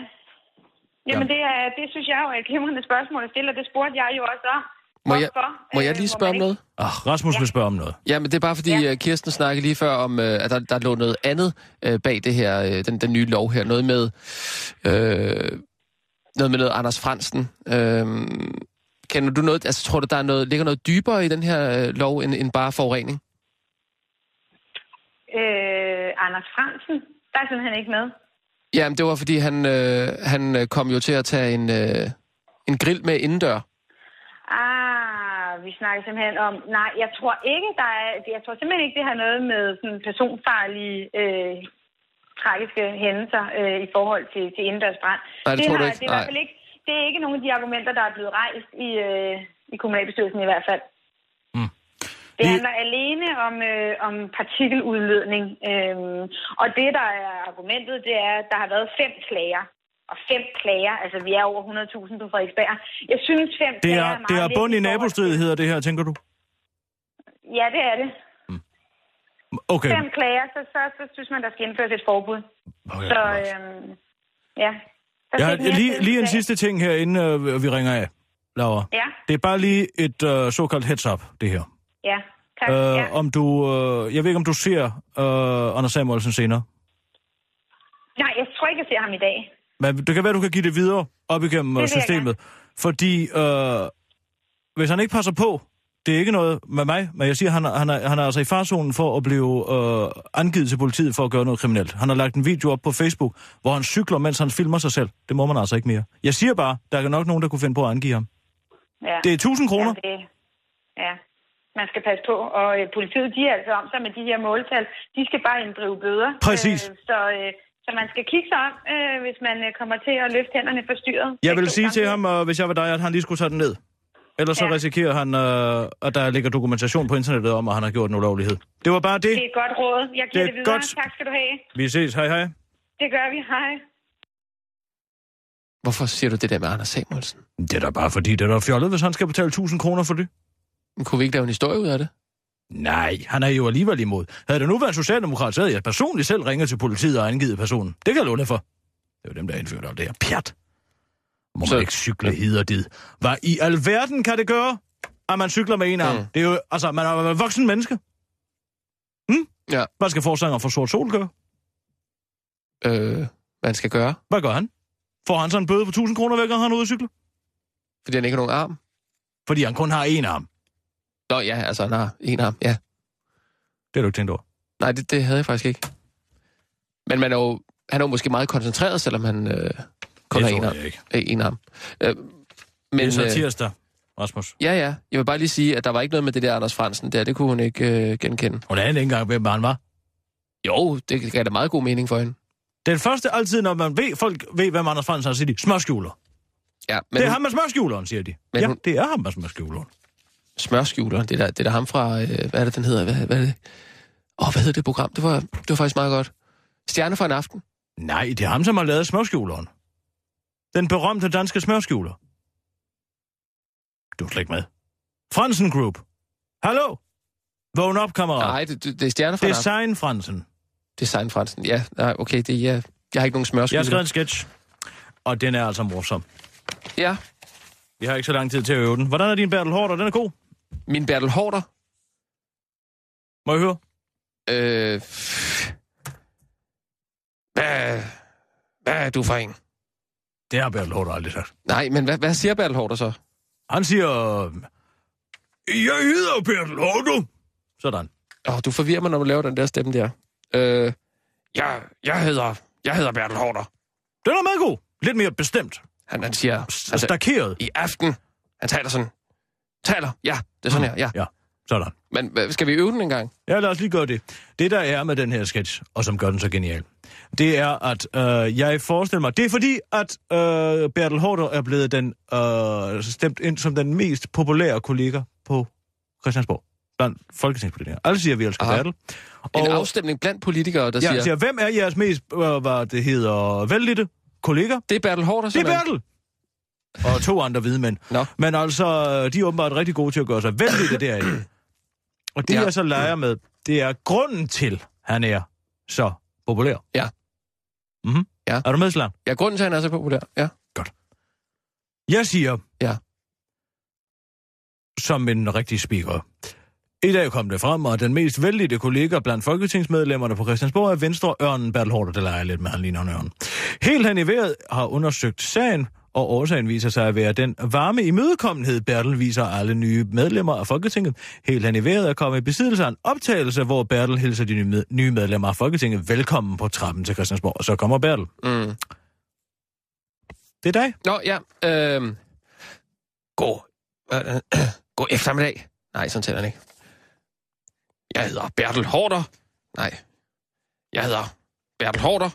Speaker 7: Jamen, det, er, det synes jeg jo er et glimrende spørgsmål at stille, og det spurgte jeg jo også om.
Speaker 5: Må jeg,
Speaker 7: Hvorfor,
Speaker 5: må
Speaker 7: øh,
Speaker 5: jeg lige
Speaker 7: må man
Speaker 5: spørge om
Speaker 7: ikke-
Speaker 5: noget?
Speaker 4: Ah, Rasmus vil spørge om noget.
Speaker 5: Ja, men det er bare fordi, ja.
Speaker 7: Ja.
Speaker 5: Kirsten snakkede lige før om, øh, at der, der lå noget andet øh, bag det her, øh, den, den nye lov her. Noget med øh, noget, med noget Anders Fransen. Øh, Kender du noget, altså tror du, der er noget, ligger noget dybere i den her øh, lov, end, end bare forurening?
Speaker 7: Øh, Anders Fransen, der er simpelthen ikke med.
Speaker 5: Jamen, det var, fordi han, øh, han øh, kom jo til at tage en, øh, en grill med indendør.
Speaker 7: Ah, vi snakker simpelthen om... Nej, jeg tror ikke, der er... Jeg tror simpelthen ikke, det har noget med sådan personfarlige øh, tragiske hændelser øh, i forhold til, til indendørs brand.
Speaker 5: Nej, det tror du
Speaker 7: har,
Speaker 5: ikke.
Speaker 7: Det er, i hvert
Speaker 5: Nej.
Speaker 7: fald ikke, det er ikke nogen af de argumenter, der er blevet rejst i, øh, i kommunalbestyrelsen i hvert fald.
Speaker 4: Mm.
Speaker 7: Det
Speaker 4: Vi-
Speaker 7: handler alene om, øh, om partikeludledning. Øhm, og det, der er argumentet, det er, at der har været fem klager. Og fem klager, altså vi er over 100.000 på Frederiksberg. Jeg synes, fem
Speaker 4: Det
Speaker 7: klager
Speaker 4: er,
Speaker 7: meget
Speaker 4: det er
Speaker 7: lidt
Speaker 4: bund i
Speaker 7: forhold til-
Speaker 4: nabostridigheder, hedder det her, tænker du?
Speaker 7: Ja, det er det.
Speaker 4: Okay.
Speaker 7: Fem klager, så, så, så synes man, der skal indføres et forbud.
Speaker 4: okay.
Speaker 7: Så øhm, ja. Der
Speaker 4: Jeg
Speaker 7: skal
Speaker 4: har
Speaker 7: ikke mere
Speaker 4: lige,
Speaker 7: til
Speaker 4: lige
Speaker 7: i
Speaker 4: en
Speaker 7: dag.
Speaker 4: sidste ting her, inden øh, vi ringer af, Laura.
Speaker 7: Ja,
Speaker 4: Det er bare lige et øh, såkaldt heads-up, det her.
Speaker 7: ja. Tak.
Speaker 4: Øh,
Speaker 7: ja.
Speaker 4: Om du, øh, jeg ved ikke, om du ser øh, Anders Samuelsen senere.
Speaker 7: Nej, jeg tror ikke, jeg ser ham i dag.
Speaker 4: Men det kan være, du kan give det videre op igennem
Speaker 7: vil
Speaker 4: det
Speaker 7: jeg
Speaker 4: systemet. Fordi øh, hvis han ikke passer på, det er ikke noget med mig, men jeg siger, han, er- han, er, han er altså i farzonen for at blive øh, angivet til politiet for at gøre noget kriminelt. Han har lagt en video op på Facebook, hvor han cykler, mens han filmer sig selv. Det må man altså ikke mere. Jeg siger bare, der er nok nogen, der kunne finde på at angive ham.
Speaker 7: Ja.
Speaker 4: Det er 1000 kroner.
Speaker 7: Ja, det, ja, man skal passe på. Og øh, politiet, de er altså om sig med de her måltal. De skal bare inddrive bøder.
Speaker 4: Præcis.
Speaker 7: Øh, så, øh, så man skal kigge sig om, øh, hvis man øh, kommer til at løfte hænderne for styret.
Speaker 4: Jeg vil sige til ham, øh, hvis jeg var dig, at han lige skulle tage den ned. Ellers så
Speaker 7: Ja.
Speaker 4: risikerer han, øh, at der ligger dokumentation på internettet om, at han har gjort en ulovlighed. Det var bare det.
Speaker 7: Det er et godt råd. Jeg
Speaker 4: Det
Speaker 7: giver
Speaker 4: er
Speaker 7: det, videre.
Speaker 4: godt.
Speaker 7: Tak skal du have.
Speaker 4: Vi ses. Hej hej.
Speaker 7: Det gør vi. Hej.
Speaker 5: Hvorfor siger du det der med Anders Samuelsen?
Speaker 4: Det er da bare fordi, det er da fjollet, hvis han skal betale 1000 kroner for det.
Speaker 5: Men Kunne vi ikke lave en historie ud af det?
Speaker 4: Nej, han er jo alligevel imod. Havde det nu været socialdemokrat, så havde jeg personligt selv ringet til politiet og angivet personen. Det kan jeg låne for. Det er jo dem, der indførte alt det her. Pjat! Må
Speaker 5: Så-
Speaker 4: man ikke cykle hid og dit. Hvad i alverden kan det gøre, at man cykler med en arm?
Speaker 5: Mm.
Speaker 4: Det er jo, altså, man er jo en voksen menneske. Hm?
Speaker 5: Ja.
Speaker 4: Hvad skal forsanger for Sort Sol gøre?
Speaker 5: Øh, hvad han skal gøre?
Speaker 4: Hvad gør han? Får han så en bøde på 1000 kroner hver gang han er ude at cykle?
Speaker 5: Fordi han ikke har nogen arm?
Speaker 4: Fordi han kun har én arm.
Speaker 5: Nå ja, altså han har en arm, ja.
Speaker 4: Det har du ikke tænkt over.
Speaker 5: Nej, det, det havde jeg faktisk ikke. Men man er jo, han er jo måske meget koncentreret, selvom han øh, kun har
Speaker 4: det
Speaker 5: en
Speaker 4: tror
Speaker 5: arm.
Speaker 4: jeg ikke.
Speaker 5: Øh, en arm. Øh,
Speaker 4: Det
Speaker 5: men,
Speaker 4: er så
Speaker 5: øh,
Speaker 4: tirsdag, Rasmus.
Speaker 5: ja, ja. Jeg vil bare lige sige, at der var ikke noget med det der Anders Fransen der. Det kunne hun ikke øh, genkende.
Speaker 4: Hun anede ikke engang, hvem han var.
Speaker 5: Jo, det gav da meget god mening for hende.
Speaker 4: Den første altid, når man ved, folk ved, hvem Anders Fransen er, siger de, smørskjuler.
Speaker 5: Ja, men
Speaker 4: Men det er
Speaker 5: hun-
Speaker 4: ham med smørskjuleren, siger de.
Speaker 5: Men
Speaker 4: ja,
Speaker 5: hun-
Speaker 4: det er ham med smørskjuleren.
Speaker 5: smørskjuleren. Det er der, det er der ham fra, øh, hvad er det, den hedder? Hvad, hvad er det? Åh, hvad hedder det program? Det var, det var faktisk meget godt. Stjerne for en aften.
Speaker 4: Nej, det er ham, som har lavet smørskjuleren. Den berømte danske smørskjuler. Du er slet ikke med. Fransen Group. Hallo? Vågn op, kammerat.
Speaker 5: Nej, det, det, det er Stjerne for en aften.
Speaker 4: Design Fransen.
Speaker 5: Design Fransen. Ja, nej, okay, det er... Ja. Jeg har ikke nogen
Speaker 4: Jeg har
Speaker 5: smørskjuler.
Speaker 4: skrevet en sketch, og den er altså morsom.
Speaker 5: Ja,
Speaker 4: Vi har ikke så lang tid til at øve den. Hvordan er din Bertel Hårder? Den er god.
Speaker 5: min Bertel Hårder.
Speaker 4: Må jeg høre?
Speaker 5: Øh, pff. hvad, hvad er du for en?
Speaker 4: Det har Bertel Hårder aldrig sagt.
Speaker 5: Nej, men hvad, hvad siger Bertel Hårder så?
Speaker 4: Han siger... Jeg hedder Bertel Hårder. Sådan.
Speaker 5: Åh, du forvirrer mig, når du laver den der stemme der. Øh, jeg, jeg hedder, jeg hedder Bertel Hårder.
Speaker 4: Den er meget god. Lidt mere bestemt.
Speaker 5: Han, han siger...
Speaker 4: Altså, Stakeret.
Speaker 5: i aften. Han taler sådan. Taler, ja. Det er sådan her, ja.
Speaker 4: Ja, sådan.
Speaker 5: Men hvad- skal vi øve den en gang?
Speaker 4: Ja, lad os lige gøre det. Det, der er med den her sketch, og som gør den så genial, det er, at øh, jeg forestiller mig... Det er fordi, at øh, Bertel Hårder er blevet den øh, stemt ind som den mest populære kollega på Christiansborg. Blandt folketingspolitikere. Alle siger, at vi elsker
Speaker 5: Aha.
Speaker 4: Bertel.
Speaker 5: En afstemning blandt politikere,
Speaker 4: ja,
Speaker 5: der siger,
Speaker 4: siger... siger, hvem er jeres mest, øh, hvad det hedder, vældigte kollega?
Speaker 5: det er Bertel Hårder,
Speaker 4: Det er
Speaker 5: simpelthen."
Speaker 4: Bertel! Og to andre hvide mænd.
Speaker 5: Nå.
Speaker 4: Men altså, de er åbenbart rigtig gode til at gøre sig vældigte derinde. Og det,
Speaker 5: Ja.
Speaker 4: ja. jeg så leger med, det er grunden til, han er så populær.
Speaker 5: Ja.
Speaker 4: Mm-hmm.
Speaker 5: Ja.
Speaker 4: Er du med, Slam?
Speaker 5: Ja, grunden til, at han er så populær. Ja.
Speaker 4: Jeg siger...
Speaker 5: Ja.
Speaker 4: Som en rigtig speaker. I dag kom det frem, og den mest vældige kollega blandt folketingsmedlemmerne på Christiansborg er Venstre Ørnen Bertel Hårder, der leger lidt med, han ligner en ørn. Helt han i vejret har undersøgt sagen, og årsagen viser sig at være den varme imødekommenhed, Bertel viser alle nye medlemmer af Folketinget. Helt han i vejret er kommet i besiddelse af en optagelse, hvor Bertel hilser de nye med- nye medlemmer af Folketinget velkommen på trappen til Christiansborg. Og så kommer Bertel.
Speaker 5: Mm.
Speaker 4: Det er dig.
Speaker 5: Nå, ja. Øhm. God. Øh, god eftermiddag. Nej, sådan tæller den ikke. Jeg hedder Bertel Hårder. Nej. Jeg hedder Bertel Hårder.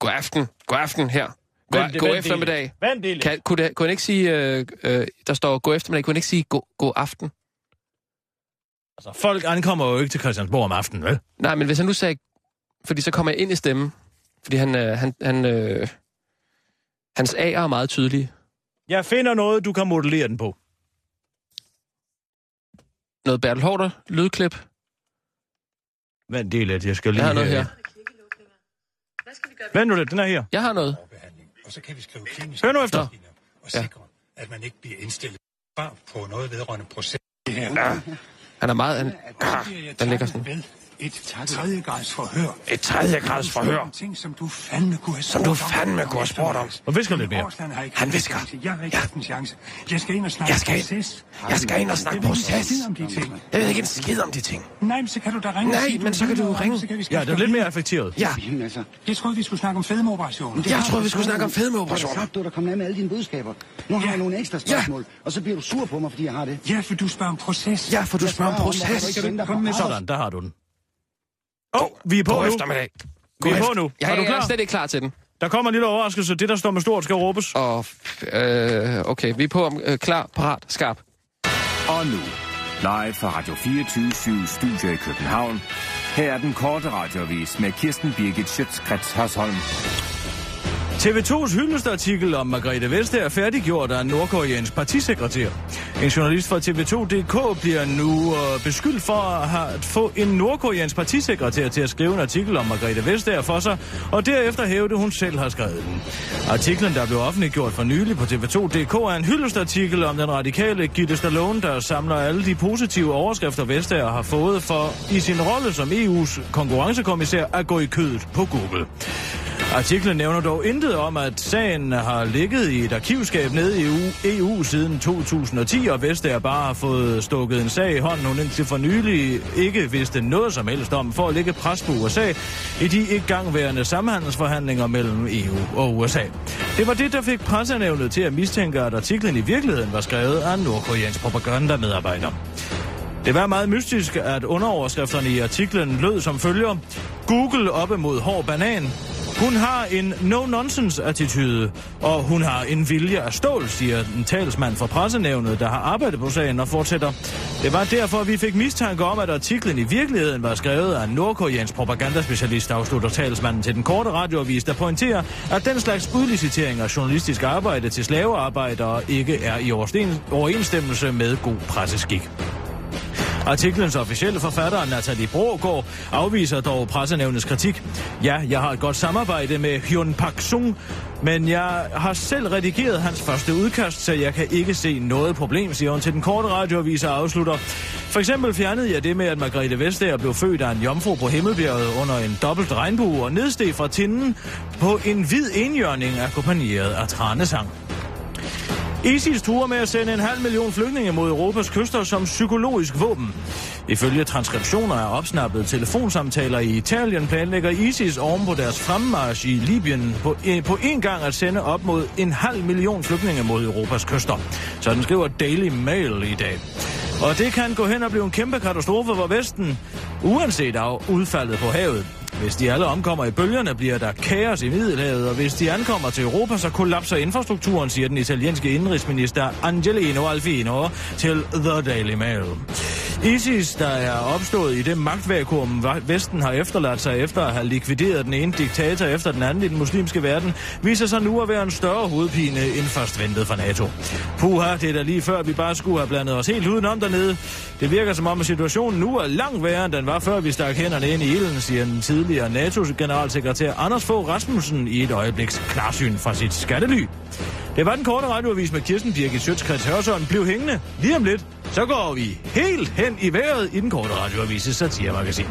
Speaker 5: God aften. God aften her. God,
Speaker 8: Vent-
Speaker 5: god
Speaker 8: vent
Speaker 5: eftermiddag.
Speaker 8: lige. Vent lige lidt.
Speaker 5: Kan, kunne, det, kunne han ikke sige, øh, øh, der står god eftermiddag, kunne han ikke sige god, god aften?
Speaker 4: Altså, folk ankommer jo ikke til Christiansborg om aftenen, vel?
Speaker 5: Nej, men hvis han nu sagde, fordi så kommer jeg ind i stemmen, fordi han, øh, han, han, øh, hans A'er er meget tydelige.
Speaker 4: Jeg finder noget, du kan modellere den på.
Speaker 5: Noget Bertel Hårder, lydklip.
Speaker 4: Vent det er lidt, jeg skal lige... øh,
Speaker 5: Jeg har noget her.
Speaker 4: Vent nu lidt, den er her.
Speaker 5: Jeg har noget.
Speaker 9: og så kan vi skrive kliniske
Speaker 4: Hør nu efter.
Speaker 9: retningslinjer og sikre, at man ikke bliver indstillet svar på noget vedrørende proces. Det her
Speaker 5: Han er meget... Han, ah, den ligger sådan.
Speaker 9: ved et tredjegrads forhør.
Speaker 5: Et tredje grads forhør.
Speaker 9: ting, som du fandme kunne have
Speaker 5: Som du fandme kunne have spurgt om.
Speaker 4: Og visker lidt mere.
Speaker 5: Han visker.
Speaker 9: Jeg har ikke
Speaker 5: Ja.
Speaker 9: haft en chance. Jeg skal ind og snakke
Speaker 5: Jeg skal ind.
Speaker 9: proces.
Speaker 5: Jeg skal ind og snakke
Speaker 9: Jeg ved ikke
Speaker 5: proces.
Speaker 9: en skid om de ting.
Speaker 5: Jeg ved ikke en skid om de ting.
Speaker 9: Nej, men så kan du da ringe. og
Speaker 5: Nej,
Speaker 9: sige,
Speaker 5: men så kan du
Speaker 9: ved noget om
Speaker 5: ringe.
Speaker 9: det, så kan vi
Speaker 4: Ja,
Speaker 9: skaffe
Speaker 4: det er lidt mere affekteret.
Speaker 5: Ja,
Speaker 9: Jeg troede, vi skulle snakke om fedmeoperationen.
Speaker 5: jeg troede, vi skulle snakke om fedmeoperationer.
Speaker 10: Stop, du er der kommet af med alle dine budskaber. Nu har jeg nogle ekstra spørgsmål, og så bliver du sur på mig, fordi jeg har det.
Speaker 9: Ja, for du spørger om proces.
Speaker 5: Ja, for du spørger om proces.
Speaker 9: Kom med
Speaker 4: Sådan, der har du den. Åh, oh, vi er på
Speaker 5: God
Speaker 4: nu.
Speaker 5: eftermiddag.
Speaker 4: Vi er på
Speaker 5: efter-
Speaker 4: nu.
Speaker 5: Ja,
Speaker 4: Er du
Speaker 5: jeg er
Speaker 4: klar?
Speaker 5: slet ikke klar til den.
Speaker 4: Der kommer en lille overraskelse. Det, der står med stort, skal råbes.
Speaker 5: Og, øh, okay, vi er på om øh, klar, parat, skarp.
Speaker 6: Og nu, live fra Radio 24 Studio i København. Her er den korte radiovis med Kirsten Birgit Schøtzgrads Hasholm.
Speaker 4: TV2's hyldestartikel om Margrethe Vestager er færdiggjort af en nordkoreansk partisekretær. En journalist fra TV2.dk bliver nu øh, beskyldt for at, have, at få en nordkoreansk partisekretær til at skrive en artikel om Margrethe Vestager for sig, og derefter hævde hun selv har skrevet den. Artiklen, der blev offentliggjort for nylig på TV2.dk, er en hyldestartikel om den radikale Gitte Stallone, der samler alle de positive overskrifter, Vestager har fået for i sin rolle som E EU's konkurrencekommissær at gå i kødet på Google. Artiklen nævner dog intet om, at sagen har ligget i et arkivskab nede i EU, EU siden 2010, og Vestager bare har fået stukket en sag i hånden, hun indtil for nylig ikke vidste noget som helst om, for at lægge pres på USA i de igangværende samhandelsforhandlinger mellem EU og USA. Det var det, der fik pressenævnet til at mistænke, at artiklen i virkeligheden var skrevet af en nordkoreansk propagandamedarbejder. Det var meget mystisk, at underoverskrifterne i artiklen lød som følger. Google op imod hård banan. Hun har en no-nonsense-attitude, og hun har en vilje af stål, siger en talsmand fra pressenævnet, der har arbejdet på sagen og fortsætter. Det var derfor, vi fik mistanke om, at artiklen i virkeligheden var skrevet af en nordkoreansk propagandaspecialist, afslutter talsmanden til den korte radioavis, der pointerer, at den slags udlicitering af journalistisk arbejde til slavearbejdere ikke er i oversten- overensstemmelse med god presseskik. Artiklens officielle forfatter, Nathalie Brogård, afviser dog pressenævnets kritik. Ja, jeg har et godt samarbejde med Hyun Pak Sung, men jeg har selv redigeret hans første udkast, så jeg kan ikke se noget problem, siger hun til den korte radioavis og afslutter. For eksempel fjernede jeg det med, at Margrethe Vestager blev født af en jomfru på Himmelbjerget under en dobbelt regnbue og nedsteg fra tinden på en hvid enhjørning akkompagneret af tranesang. ISIS turer med at sende en halv million flygtninge mod Europas kyster som psykologisk våben. Ifølge transkriptioner af opsnappede telefonsamtaler i Italien planlægger ISIS oven på deres fremmarsch i Libyen på, eh, på en gang at sende op mod en halv million flygtninge mod Europas kyster. Sådan skriver Daily Mail i dag. Og det kan gå hen og blive en kæmpe katastrofe for Vesten, uanset af udfaldet på havet. Hvis de alle omkommer i bølgerne, bliver der kaos i Middelhavet, og hvis de ankommer til Europa, så kollapser infrastrukturen, siger den italienske indrigsminister Angelino Alfino til The Daily Mail. ISIS, der er opstået i det magtvakuum, Vesten har efterladt sig efter at have likvideret den ene diktator efter den anden i den muslimske verden, viser sig nu at være en større hovedpine end først ventet fra NATO. Puha, det er da lige før, vi bare skulle have blandet os helt udenom dernede. Det virker som om, at situationen nu er langt værre, end den var før vi stak hænderne ind i ilden, siger den tidligere NATO-generalsekretær Anders Fogh Rasmussen i et øjebliks klarsyn fra sit skattely. Det var den korte radioavis med Kirsten Birgit Sjøtskrets Hørsson. Bliv hængende. Lige om lidt, så går vi helt hen i vejret i den korte radioavis' satiremagasin.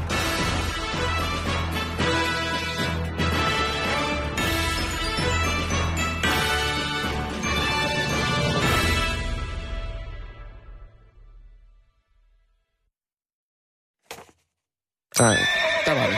Speaker 5: Der, der var det.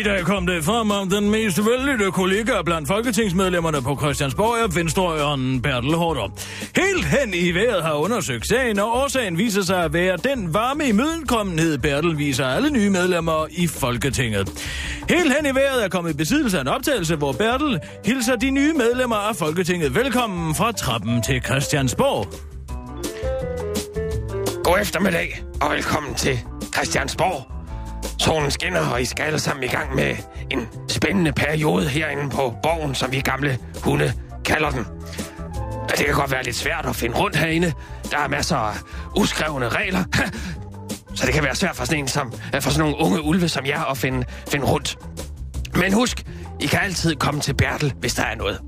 Speaker 4: I dag kom det frem om den mest vellydte kollega blandt folketingsmedlemmerne på Christiansborg er Venstreøren Bertel Hårder. Helt hen i vejret har undersøgt sagen, og årsagen viser sig at være den varme imødekommenhed, Bertel viser alle nye medlemmer i Folketinget. Helt hen i vejret er kommet i besiddelse af en optagelse, hvor Bertel hilser de nye medlemmer af Folketinget velkommen fra trappen til Christiansborg.
Speaker 5: God eftermiddag, og velkommen til Christiansborg. Solen skinner, og I skal alle sammen i gang med en spændende periode herinde på borgen, som vi gamle hunde kalder den. Og Det kan godt være lidt svært at finde rundt herinde. Der er masser af uskrevne regler, så det kan være svært for sådan, en som, for sådan nogle unge ulve som jer at finde, finde rundt. Men husk, I kan altid komme til Bertel, hvis der er noget.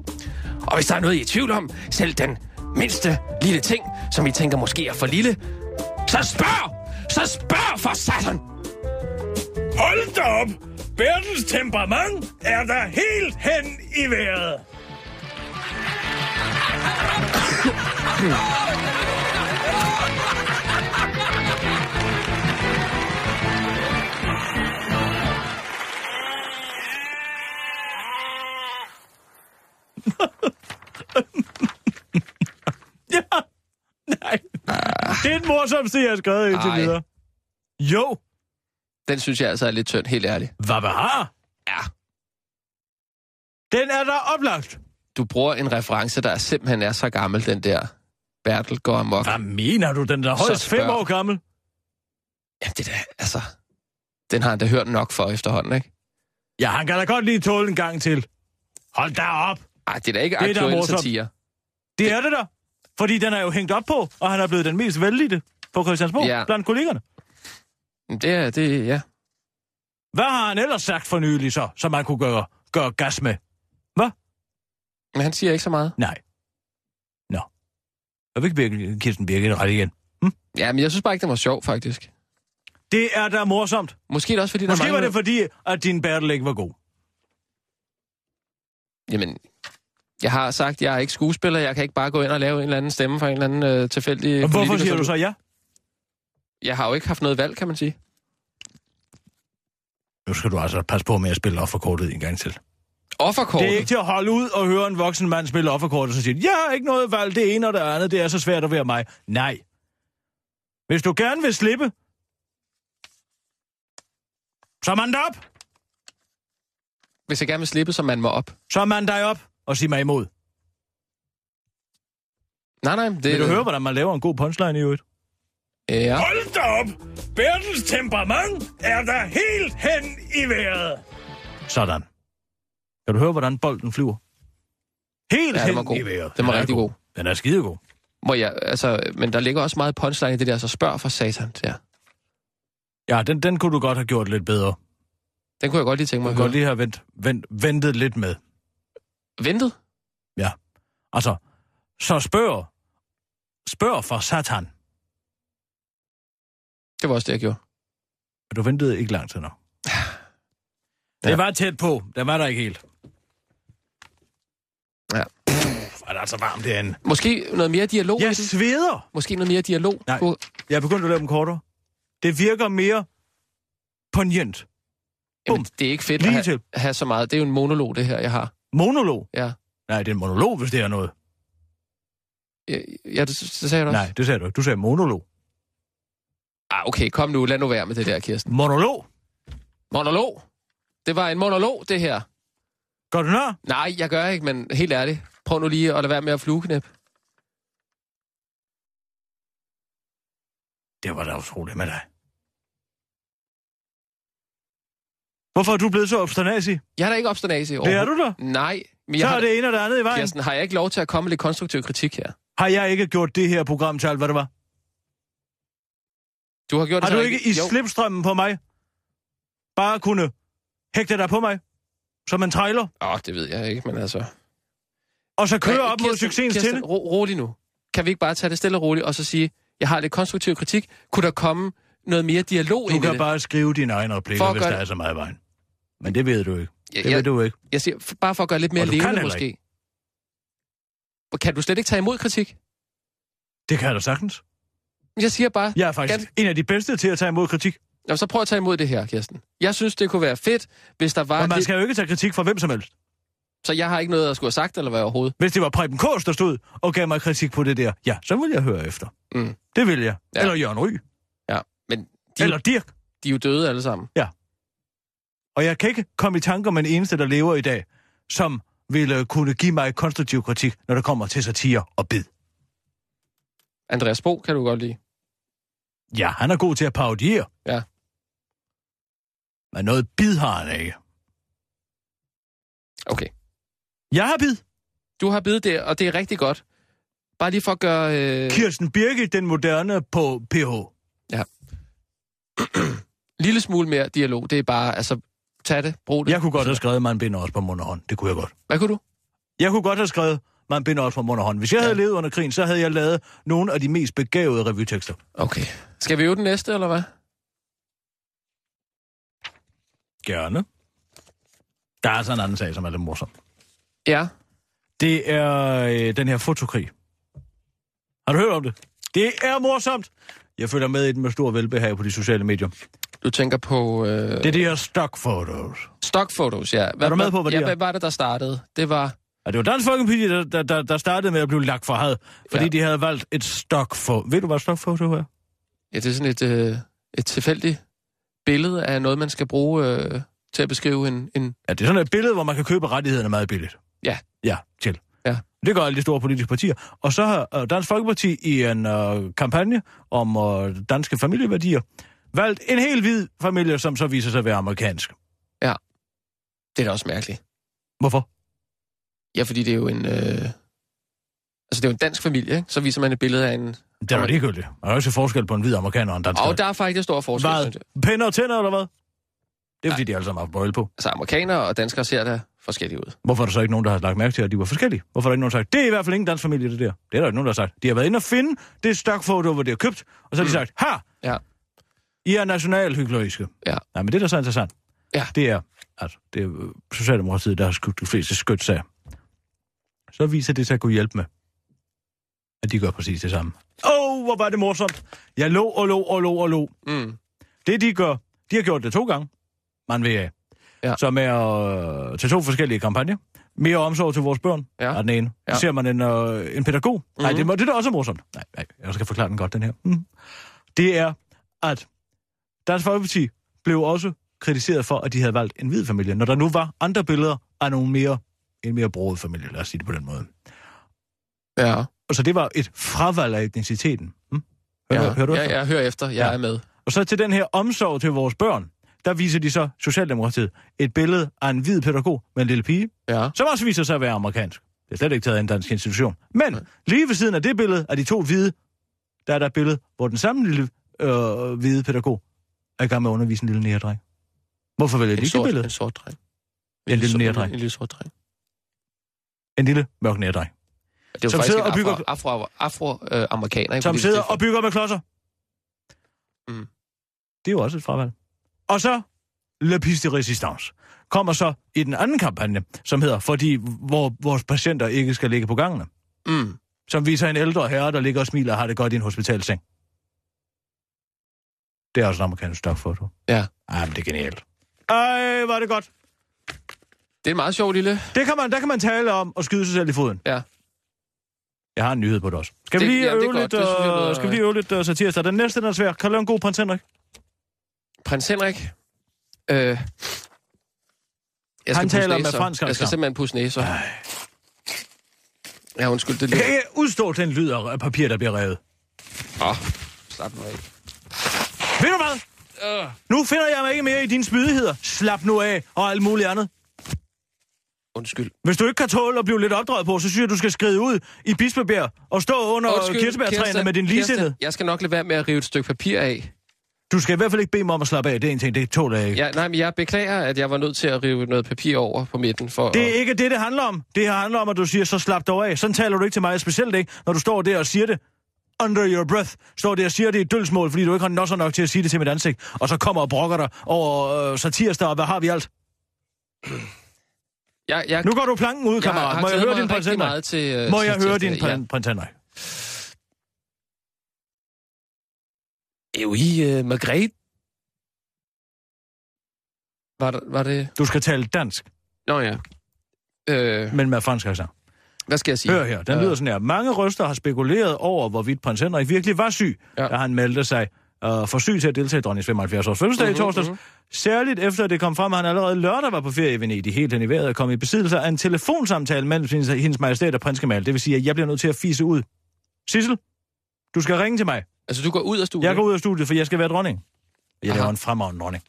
Speaker 5: Og hvis der er noget, I er i tvivl om, selv den mindste lille ting, som I tænker måske er for lille, så spørg! Så spørg for satan!
Speaker 4: Hold da op! Bertels temperament er der helt hen i vejret. ja, nej. Det er den morsomste, jeg har skrevet indtil
Speaker 5: Ej.
Speaker 4: videre. Jo.
Speaker 5: Den synes jeg altså er lidt tynd, helt ærligt.
Speaker 4: Hvad har?
Speaker 5: Ja.
Speaker 4: Den er der oplagt.
Speaker 5: Du bruger en reference, der simpelthen er så gammel, den der. Bertel går amok.
Speaker 4: Hvad mener du? Den er da højst
Speaker 5: spørg.
Speaker 4: fem år gammel.
Speaker 5: Jamen, det der, altså... Den har han da hørt nok for efterhånden, ikke?
Speaker 4: Ja, han kan da godt lige tåle en gang til. Hold da op.
Speaker 5: Ej, det er da ikke
Speaker 4: Det er da
Speaker 5: aktuelle
Speaker 4: morsomt.
Speaker 5: satire.
Speaker 4: Det er det der. Fordi den er jo hængt op på, og han er blevet den mest vældige på Christiansborg
Speaker 5: Ja.
Speaker 4: ja. blandt kollegerne.
Speaker 5: Men Det er, det, ja.
Speaker 4: Hvad har han ellers sagt for nylig så, som man kunne gøre, gøre gas med?
Speaker 5: Men han siger ikke så meget.
Speaker 4: Nej. Nå. Jeg vil ikke virkelig Kirsten Birgit ret igen.
Speaker 5: Ja, men jeg synes bare ikke, det var sjov, faktisk.
Speaker 4: Det er da morsomt.
Speaker 5: Måske er det også, fordi der
Speaker 4: Måske var
Speaker 5: mangler...
Speaker 4: det fordi, at din battle ikke var god.
Speaker 5: Jamen, jeg har sagt, jeg er ikke skuespiller. Jeg kan ikke bare gå ind og lave en eller anden stemme for en eller anden øh, tilfældig
Speaker 4: Men hvorfor
Speaker 5: politiker,
Speaker 4: siger
Speaker 5: som
Speaker 4: du så ja?
Speaker 5: Jeg har jo ikke haft noget valg, kan man sige.
Speaker 4: Nu skal du altså passe på med at spille offerkortet en gang til.
Speaker 5: Offerkortet.
Speaker 4: Det er ikke til at holde ud og høre en voksen mand spille offerkortet, så siger de, jeg har ikke noget valg, det ene og det andet, det er så svært at være mig. Nej. Hvis du gerne vil slippe, så er man dig op.
Speaker 5: Hvis jeg gerne vil slippe, så man må op.
Speaker 4: Så er man dig op og sig mig imod.
Speaker 5: Nej, nej. Det, Øh,
Speaker 4: Vil du høre, hvordan man laver en god punchline i øvrigt?
Speaker 5: Ja.
Speaker 4: Hold da op! Bertels temperament er der helt hen i vejret. Sådan. Kan du høre, hvordan bolden flyver? Helt
Speaker 5: Ja, den
Speaker 4: hen
Speaker 5: var god.
Speaker 4: i vejret.
Speaker 5: Den var
Speaker 4: er
Speaker 5: rigtig god.
Speaker 4: Den er skidegod.
Speaker 5: Må jeg, altså, men der ligger også meget punchline i det der, så spørg for satan. Ja.
Speaker 4: Ja, den, den kunne du godt have gjort lidt bedre.
Speaker 5: Den kunne jeg godt lige tænke mig
Speaker 4: Jeg
Speaker 5: at
Speaker 4: kan
Speaker 5: høre.
Speaker 4: godt lige have vent, vent, ventet lidt med.
Speaker 5: Ventet?
Speaker 4: Altså, så spørg. Spørg for satan.
Speaker 5: Det var også det, jeg gjorde.
Speaker 4: Men Du ventede ikke lang tid nok.
Speaker 5: Ja.
Speaker 4: Det var tæt på. Det var der ikke helt.
Speaker 5: Ja.
Speaker 4: Pff, er det altså varmt derinde.
Speaker 5: Måske noget mere dialog i
Speaker 4: Jeg
Speaker 5: den?
Speaker 4: sveder.
Speaker 5: Måske noget mere dialog?
Speaker 4: Nej.
Speaker 5: Kunne-
Speaker 4: Jeg er begyndt at lave dem kortere. Det virker mere poignant.
Speaker 5: Jamen,
Speaker 4: Bum.
Speaker 5: det er ikke fedt
Speaker 4: Lige
Speaker 5: at have,
Speaker 4: til.
Speaker 5: have så meget. Det er jo en monolog, det her, jeg har.
Speaker 4: Monolog.
Speaker 5: Ja.
Speaker 4: Nej, det er en monolog, hvis det er noget.
Speaker 5: Ja, ja det, det sagde du også.
Speaker 4: Nej, det sagde du ikke. Du sagde monolog.
Speaker 5: Ah, okay, kom nu. Lad nu være med det der, Kirsten.
Speaker 4: Monolog.
Speaker 5: Monolog? Det var en monolog, det her.
Speaker 4: Gør du nær?
Speaker 5: Nej, jeg gør ikke, men helt ærligt. Prøv nu lige at lade være med at flueknæppe.
Speaker 4: Det var da utroligt med dig. Hvorfor er du blevet så obsternasig?
Speaker 5: Jeg har da ikke obsternase i år.
Speaker 4: Det er du da.
Speaker 5: Nej, men jeg
Speaker 4: Så
Speaker 5: har,
Speaker 4: er det ene og det andet i vejen.
Speaker 5: Kirsten, har jeg ikke lov til at komme med lidt konstruktiv kritik her?
Speaker 4: Har jeg ikke gjort det her program til alt, hvad det var?
Speaker 5: Du har gjort
Speaker 4: Har
Speaker 5: det
Speaker 4: du
Speaker 5: så
Speaker 4: ikke i
Speaker 5: Jo.
Speaker 4: slipstrømmen på mig bare kunne hægte dig på mig, som en trailer,
Speaker 5: Åh, det ved jeg ikke, men altså...
Speaker 4: og så køre
Speaker 5: Hvad-
Speaker 4: op mod
Speaker 5: Kirsten-
Speaker 4: succesens
Speaker 5: Kirsten,
Speaker 4: tinde?
Speaker 5: ro, rolig nu. Kan vi ikke bare tage det stille og roligt, og så sige, jeg har lidt konstruktiv kritik. Kunne der komme noget mere dialog
Speaker 4: Du
Speaker 5: ind i
Speaker 4: kan
Speaker 5: det.
Speaker 4: bare skrive dine egne
Speaker 5: For
Speaker 4: replikker,
Speaker 5: at
Speaker 4: hvis
Speaker 5: gøre
Speaker 4: der er
Speaker 5: det-
Speaker 4: så meget i vejen. Men det ved du ikke.
Speaker 5: Ja,
Speaker 4: Det ved
Speaker 5: jeg-
Speaker 4: du ikke.
Speaker 5: Jeg siger, f- bare for at gøre lidt mere
Speaker 4: Og du kan
Speaker 5: levende,
Speaker 4: heller
Speaker 5: måske. Og Kan du slet ikke tage imod kritik?
Speaker 4: Det kan jeg da sagtens.
Speaker 5: Jeg siger bare,
Speaker 4: Jeg er faktisk en af de bedste til at tage imod kritik.
Speaker 5: Jamen, så prøv at tage imod det her, Kirsten. Jeg synes, det kunne være fedt, hvis der var...
Speaker 4: Men man
Speaker 5: lidt-
Speaker 4: skal jo ikke tage kritik fra hvem som helst.
Speaker 5: Så jeg har ikke noget at skulle have sagt, eller hvad overhovedet.
Speaker 4: Hvis det var Preben Kors, der stod og gav mig kritik på det der, ja, så ville jeg høre efter.
Speaker 5: Mm.
Speaker 4: Det ville jeg.
Speaker 5: Ja.
Speaker 4: Ja. Eller Jørgen Ry.
Speaker 5: Ja, men de,
Speaker 4: De... Eller Dirk.
Speaker 5: de er jo døde alle sammen.
Speaker 4: Og jeg kan ikke komme i tanke om en eneste, der lever i dag, som ville kunne give mig konstruktiv kritik, når det kommer til satire og bid.
Speaker 5: Andreas Bo kan du godt lide.
Speaker 4: Ja, han er god til at parodiere.
Speaker 5: Ja.
Speaker 4: Men noget bid har han ikke.
Speaker 5: Okay.
Speaker 4: Jeg har bid.
Speaker 5: Du har bidt det, og det er rigtig godt. Bare lige for at gøre... Øh...
Speaker 4: Kirsten Birgit, den moderne på PH.
Speaker 5: lille smule mere dialog. Det er bare, altså, tag det, brug det.
Speaker 4: Jeg kunne godt have skrevet, man binder også på mund og hånd. Det kunne jeg godt.
Speaker 5: Hvad kunne du?
Speaker 4: Jeg kunne godt have skrevet, man binder også på mund og hånd. Hvis jeg havde
Speaker 5: Ja.
Speaker 4: levet under krigen, så havde jeg lavet nogle af de mest begavede revytekster.
Speaker 5: Okay. Skal vi øve den næste, eller hvad?
Speaker 4: Gerne. Der er altså en anden sag, som er lidt morsom.
Speaker 5: Ja.
Speaker 4: Det er øh, den her fotokrig. Har du hørt om det? Det er morsomt! Jeg følger med i den med stor velbehag på de sociale medier.
Speaker 5: Du tænker på... Øh...
Speaker 4: Det er de her stock photos.
Speaker 5: Stock photos, ja. Hvad,
Speaker 4: Er du med på, hvad
Speaker 5: hvad,
Speaker 4: det
Speaker 5: ja,
Speaker 4: er?
Speaker 5: hvad var det, der startede? Det var...
Speaker 4: Og det var Dansk Folkeparti, der, der, der, der startede med at blive lagt for had, fordi
Speaker 5: Ja.
Speaker 4: ja. de havde valgt et stock foto. Ved du, hvad stock photo er?
Speaker 5: Ja, det er sådan et, øh, et tilfældigt billede af noget, man skal bruge øh, til at beskrive en... en...
Speaker 4: Ja, det er sådan et billede, hvor man kan købe rettighederne meget billigt.
Speaker 5: Ja.
Speaker 4: Ja, til.
Speaker 5: Ja.
Speaker 4: Det gør alle de store politiske partier. Og så har øh, Dansk Folkeparti i en øh, kampagne om øh, danske familieværdier valgt en helt hvid familie, som så viser sig at være amerikansk.
Speaker 5: Det er da også mærkeligt.
Speaker 4: Hvorfor?
Speaker 5: Ja, fordi det er jo en... Øh... Altså, det er jo en dansk familie, ikke? Så viser man et billede af en...
Speaker 4: Det er jo ligegyldigt. Der er jo også forskel på en hvid amerikaner og en dansker.
Speaker 5: Og der er faktisk stor forskel.
Speaker 4: Hvad?
Speaker 5: synes jeg.
Speaker 4: Pænder og tænder, eller hvad? Det er fordi, de alle sammen har haft bøjle på.
Speaker 5: Altså, amerikanere og danskere ser da forskellige ud.
Speaker 4: Hvorfor er der så ikke nogen, der har lagt mærke til, at de var forskellige? Hvorfor er der ikke nogen, der har sagt, det er i hvert fald ingen dansk familie, det der. Det er der ikke nogen, der har sagt. De har været inde og finde det stokfoto, hvor det er købt, og
Speaker 5: Mm.
Speaker 4: så har de sagt, ha!
Speaker 5: Ja.
Speaker 4: I er nationalhykleriske.
Speaker 5: Ja.
Speaker 4: Nej, men det, der så er interessant,
Speaker 5: Ja.
Speaker 4: det er, at det er øh, Socialdemokratiet, der har skudt de fleste skøtsager. Så viser det sig at kunne hjælpe med, at de gør præcis det samme. Åh, oh, hvor var det morsomt. Jeg lå og lå og lå og lå.
Speaker 5: Mm.
Speaker 4: Det de gør, de har gjort det to gange, man vil af.
Speaker 5: Ja.
Speaker 4: Ja. Som er øh, til to forskellige kampagner. Mere omsorg til vores børn,
Speaker 5: Ja.
Speaker 4: ja. er den ene.
Speaker 5: Ja.
Speaker 4: Ja. Så ser man en, øh, en pædagog. Mm-hmm. Nej,
Speaker 5: Mhm.
Speaker 4: det, må- det er da også morsomt. Nej, nej, jeg skal forklare den godt, den her. Mm. Det er, at Dansk Folkeparti blev også kritiseret for, at de havde valgt en hvid familie, når der nu var andre billeder af nogle mere, en mere broet familie, lad os sige det på den måde.
Speaker 5: Ja.
Speaker 4: Og så det var et fravalg af etniciteten. Mm? Hør,
Speaker 5: ja.
Speaker 4: ja. Hører du
Speaker 5: ja,
Speaker 4: efter?
Speaker 5: jeg hører efter. Jeg ja.
Speaker 4: Ja.
Speaker 5: er med.
Speaker 4: Og så til den her omsorg til vores børn, der viser de så Socialdemokratiet et billede af en hvid pædagog med en lille pige,
Speaker 5: Ja.
Speaker 4: som også viser sig at være amerikansk. Det er slet ikke taget af en dansk institution. Men lige ved siden af det billede af de to hvide, der er der et billede, hvor den samme lille øh, hvide pædagog er i gang med at undervise en lille næredreng. Hvorfor vælger de ikke
Speaker 5: En
Speaker 4: det
Speaker 5: sort,
Speaker 4: billede?
Speaker 5: en sort dreng.
Speaker 4: En lille
Speaker 5: sort-
Speaker 4: negerdreng.
Speaker 5: En lille sort dreng.
Speaker 4: En lille mørk næredreng.
Speaker 5: Det er jo
Speaker 4: Som
Speaker 5: faktisk
Speaker 4: sidder
Speaker 5: en
Speaker 4: og bygger-
Speaker 5: afro, afro, afro, øh, amerikaner, ikke?
Speaker 4: som
Speaker 5: Fordi
Speaker 4: sidder
Speaker 5: det er-
Speaker 4: og bygger med klodser.
Speaker 5: Mm.
Speaker 4: Det er jo også et fravalg. Og så Le Piste de Resistance kommer så i den anden kampagne, som hedder, fordi hvor vores patienter ikke skal ligge på gangene.
Speaker 5: Mm.
Speaker 4: Som viser en ældre herre, der ligger og smiler og har det godt i en hospitalseng. Det er også en amerikansk stokfoto.
Speaker 5: Ja.
Speaker 4: Ej, men det er genialt. Ej, var det godt.
Speaker 5: Det er en meget sjov lille...
Speaker 4: Det kan man, der kan man tale om at skyde sig selv i foden.
Speaker 5: Ja.
Speaker 4: Jeg har en nyhed på det også. Skal
Speaker 5: Det-
Speaker 4: vi lige
Speaker 5: jamen, det er
Speaker 4: øve
Speaker 5: godt.
Speaker 4: lidt,
Speaker 5: Det synes jeg lyder-
Speaker 4: øh, skal vi lige øve lidt øh, satirsdag? Den næste, den er svær. Kan du lave en god prins Henrik?
Speaker 5: Prins Henrik... Øh, jeg skal
Speaker 4: Han
Speaker 5: pudse
Speaker 4: taler med
Speaker 5: næser.
Speaker 4: fransk
Speaker 5: Jeg skal
Speaker 4: accent.
Speaker 5: simpelthen pusse næser. Ja, undskyld, det
Speaker 4: Jeg
Speaker 5: lige...
Speaker 4: kan ikke udstå den lyd af papir, der bliver revet.
Speaker 5: Åh, slap nu af.
Speaker 4: Ved du hvad? Nu finder jeg mig ikke mere i dine spydigheder. Slap nu af og alt muligt andet.
Speaker 5: Undskyld.
Speaker 4: Hvis du ikke kan tåle at blive lidt opdraget på, så synes jeg, du skal skride ud i bispebjerg og stå under
Speaker 5: Undskyld,
Speaker 4: kirsebærtræerne
Speaker 5: Kirsten,
Speaker 4: med din ligesindede.
Speaker 5: Kirsten, Jeg skal nok lade være med at rive et stykke papir af.
Speaker 4: Du skal i hvert fald ikke bede mig om at slappe af. Det er en ting, det tåler jeg ikke.
Speaker 5: Ja, nej, men jeg beklager, at jeg var nødt til at rive noget papir over på midten for
Speaker 4: Det
Speaker 5: at...
Speaker 4: er ikke det, det handler om. Det her handler om, at du siger, så slap dig af. Sådan taler du ikke til mig, specielt ikke, når du står der og siger det. under your breath, står det og siger det i dølsmål, fordi du ikke har nosser nok til at sige det til mit ansigt, og så kommer og brokker dig over øh, satirsdag, og hvad har vi alt?
Speaker 5: Jeg, jeg,
Speaker 4: Nu går du planken ud,
Speaker 5: Jeg
Speaker 4: kammerat.
Speaker 5: har
Speaker 4: Må jeg
Speaker 5: glædet
Speaker 4: høre
Speaker 5: mig
Speaker 4: din
Speaker 5: rigtig
Speaker 4: prins Henrik?
Speaker 5: meget til, øh,
Speaker 4: Må jeg
Speaker 5: til-
Speaker 4: høre
Speaker 5: til-
Speaker 4: din
Speaker 5: ja.
Speaker 4: prin- prins Henrik?
Speaker 5: er jo i uh, Margrethe. Var, der- var det...
Speaker 4: Du skal tale dansk,
Speaker 5: Nå ja. Øh,
Speaker 4: men med fransk accent.
Speaker 5: hvad skal jeg sige?
Speaker 4: Hør her, den lyder sådan her. Mange røster har spekuleret over, hvorvidt prins Henrik virkelig var syg,
Speaker 5: Ja.
Speaker 4: ja. da han meldte sig øh, for syg til at deltage i dronningens 75 års fødselsdag
Speaker 5: Mhm,
Speaker 4: mm-hmm, i torsdags. Særligt efter det kom frem, at han allerede lørdag var på ferie i Venedig, helt hen i vejret, og kom i besiddelse af en telefonsamtale mellem hendes, hendes majestæt og prins Kemal. Det vil sige, at jeg bliver nødt til at fise ud. Sissel, du skal ringe til mig.
Speaker 5: Altså, du går ud af studiet?
Speaker 4: Jeg går ud af studiet, for jeg skal være dronning. Jeg
Speaker 5: Aha.
Speaker 4: laver en fremragende dronning.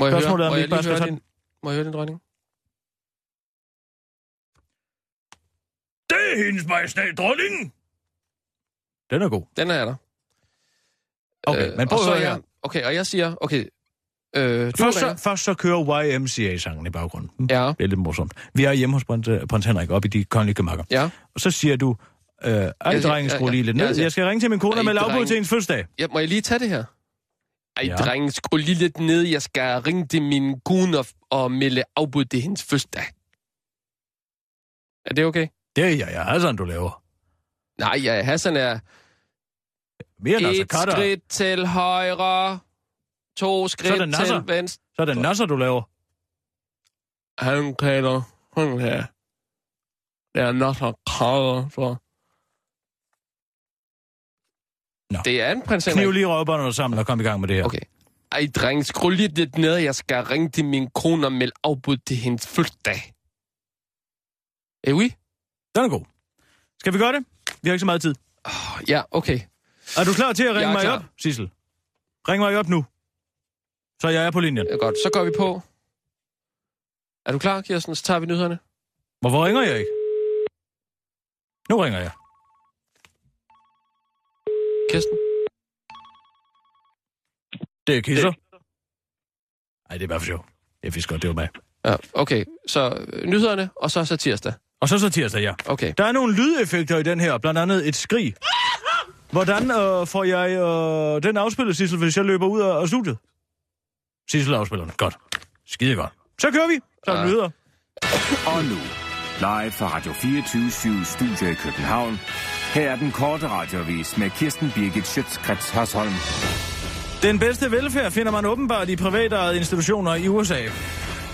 Speaker 5: Må jeg
Speaker 4: Spørgsmålet er,
Speaker 5: høre,
Speaker 4: om
Speaker 5: må
Speaker 4: vi
Speaker 5: jeg
Speaker 4: ikke bare
Speaker 5: lige
Speaker 4: skal
Speaker 5: høre
Speaker 4: tage
Speaker 5: din, må jeg høre din dronning?
Speaker 4: Det er hendes majestæt, dronningen! Den er god.
Speaker 5: Den er der. Øh,
Speaker 4: Okay, men prøv
Speaker 5: og
Speaker 4: at
Speaker 5: så
Speaker 4: høre
Speaker 5: er
Speaker 4: her.
Speaker 5: jeg, Okay, og jeg siger, okay, øh, du
Speaker 4: Først så,
Speaker 5: ringer.
Speaker 4: først så kører YMCA-sangen i baggrunden.
Speaker 5: Ja,
Speaker 4: Det er lidt morsomt. Vi er hjemme hos prins, øh, prins Henrik, op i de kongelige gemakker.
Speaker 5: ja.
Speaker 4: Og så siger du, øh,
Speaker 5: ja,
Speaker 4: ej, drengen,
Speaker 5: ja,
Speaker 4: skru lige
Speaker 5: ja,
Speaker 4: lidt
Speaker 5: ja,
Speaker 4: ned.
Speaker 5: ja.
Speaker 4: Jeg skal ringe til min kone
Speaker 5: Ej,
Speaker 4: og melde afbud
Speaker 5: drenge.
Speaker 4: til hendes fødselsdag.
Speaker 5: ja. Må jeg lige tage det her? Ej,
Speaker 4: Ja.
Speaker 5: ja. drengen, skru lige lidt ned. Jeg skal ringe til min kone og, og melde afbud til hendes fødselsdag. Er det okay?
Speaker 4: Det er jeg, jeg er sådan, du laver.
Speaker 5: Nej, ja, Hassan er...
Speaker 4: Mere end altså
Speaker 5: Et
Speaker 4: katter.
Speaker 5: skridt til højre, to skridt
Speaker 4: Sådan, Nasser.
Speaker 5: til venstre.
Speaker 4: Så er det nasser, du laver.
Speaker 5: Han kalder hun her. Det er nok så krader for.
Speaker 4: Nå.
Speaker 5: Det er en prins
Speaker 4: Kniv
Speaker 5: Henrik.
Speaker 4: lige røvbånderne sammen og kom i gang med det her.
Speaker 5: Okay. Ej, dreng, skru lige lidt ned. Jeg skal ringe til min kone og melde afbud til hendes fødselsdag. Eh oui?
Speaker 4: Den er god. Skal vi gøre det? Vi har ikke så meget tid.
Speaker 5: Ja, okay.
Speaker 4: Er du klar til at
Speaker 5: Jeg
Speaker 4: ringe
Speaker 5: er
Speaker 4: mig
Speaker 5: klar.
Speaker 4: op, Sissel? Ring mig op nu. Så jeg er på linjen.
Speaker 5: Ja, Godt, så går vi på. Er du klar, Kirsten? Så tager vi nyhederne.
Speaker 4: Hvorfor ringer jeg ikke? Nu ringer jeg.
Speaker 5: Kirsten?
Speaker 4: Det er kisser. Nej, det er bare for sjov. Jeg vidste godt, det var mig.
Speaker 5: Ja, okay. Så øh, nyhederne, og så så tirsdag.
Speaker 4: Og så så tirsdag, ja.
Speaker 5: Okay.
Speaker 4: Der er nogle lydeffekter i den her, blandt andet et skrig. Hvordan øh, får jeg øh, den afspillet, Sissel, hvis jeg løber ud af, af studiet? Sissel afspiller den. Godt. Skide godt. Så kører vi. Så er
Speaker 5: Ja.
Speaker 4: den lyder.
Speaker 6: Og nu, live fra Radio 24 Studio i København. Her er den korte radiovis med Kirsten Birgit Schøtzgrads Hasholm.
Speaker 4: Den bedste velfærd finder man åbenbart i privatejede institutioner i USA.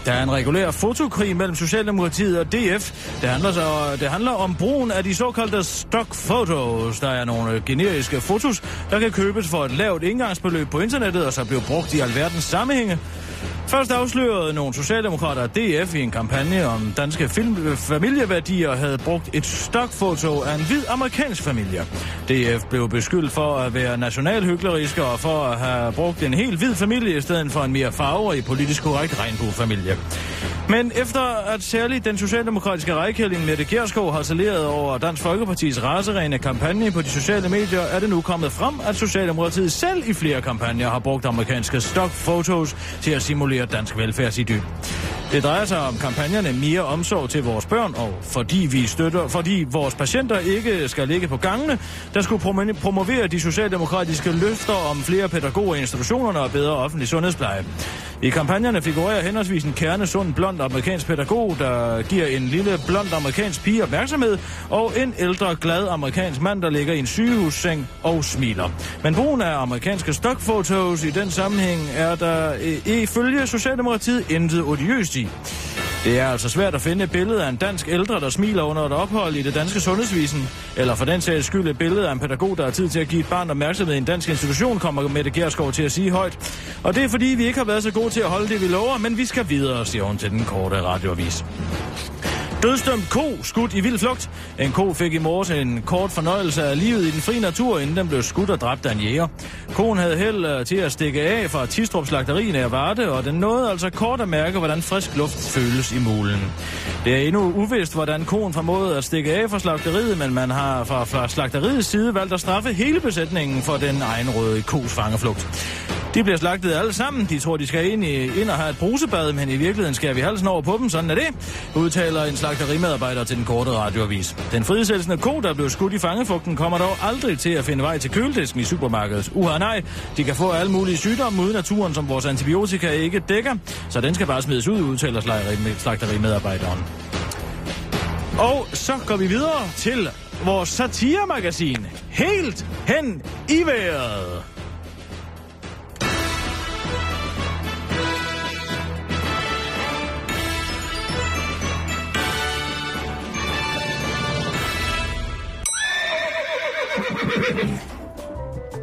Speaker 4: Der er en regulær fotokrig mellem Socialdemokratiet og DF. Det handler, så, det handler om brugen af de såkaldte stock photos. Der er nogle generiske fotos, der kan købes for et lavt indgangsbeløb på internettet, og så bliver brugt i alverdens sammenhænge. Først afslørede nogle socialdemokrater, at DF i en kampagne om danske film- familieværdier havde brugt et stokfoto af en hvid amerikansk familie. DF blev beskyldt for at være nationalhykleriske og for at have brugt en helt hvid familie i stedet for en mere farverig politisk korrekt regnbuefamilie. Men efter at særligt den socialdemokratiske rejkælling Mette Gjerskov har saleret over Dansk Folkepartis raserene kampagne på de sociale medier, er det nu kommet frem, at Socialdemokratiet selv i flere kampagner har brugt amerikanske stockfotos til at simulere dansk velfærdsidyl. Det drejer sig om kampagnerne Mere omsorg til vores børn, og fordi vi støtter, fordi vores patienter ikke skal ligge på gangene, der skulle promene- promovere de socialdemokratiske løfter om flere pædagoger i institutionerne og bedre offentlig sundhedspleje. I kampagnerne figurerer henholdsvis en kerne sund blond amerikansk pædagog, der giver en lille blond amerikansk pige opmærksomhed, og en ældre glad amerikansk mand, der ligger i en sygehusseng og smiler. Men brugen af amerikanske stockfotos i den sammenhæng er der øh, ifølge Socialdemokratiet intet odiøst i. Det er altså svært at finde et billede af en dansk ældre, der smiler under et ophold i det danske sundhedsvisen. Eller for den sags skyld et billede af en pædagog, der har tid til at give et barn opmærksomhed i en dansk institution, kommer Mette Gerskov til at sige højt. Og det er fordi, vi ikke har været så gode til at holde det, vi lover, men vi skal videre, siger hun til den korte radioavis. Dødstømt ko skudt i vild flugt. En ko fik i morges en kort fornøjelse af livet i den frie natur, inden den blev skudt og dræbt af en jæger. Koen havde held øh, til at stikke af fra Tistrup slagteri nær Varde, og den nåede altså kort at mærke, hvordan frisk luft føles i mulen. Det er endnu uvist, hvordan koen formåede at stikke af fra slagteriet, men man har fra, fra slagteriets side valgt at straffe hele besætningen for den egenrådige kos fangeflugt. De bliver slagtet alle sammen. De tror, de skal ind, i, ind og have et brusebad, men i virkeligheden skærer vi halsen over på dem. Sådan er det, udtaler en slagterimedarbejder til den korte radioavis. Den frisættelsende ko, der blev skudt i fangefugten, kommer dog aldrig til at finde vej til køledisken i supermarkedet. Uha nej, de kan få alle mulige sygdomme ude i naturen, som vores antibiotika ikke dækker. Så den skal bare smides ud, udtaler slagteri- slagterimedarbejderen. Og så går vi videre til vores satiremagasin. Helt hen i vejret.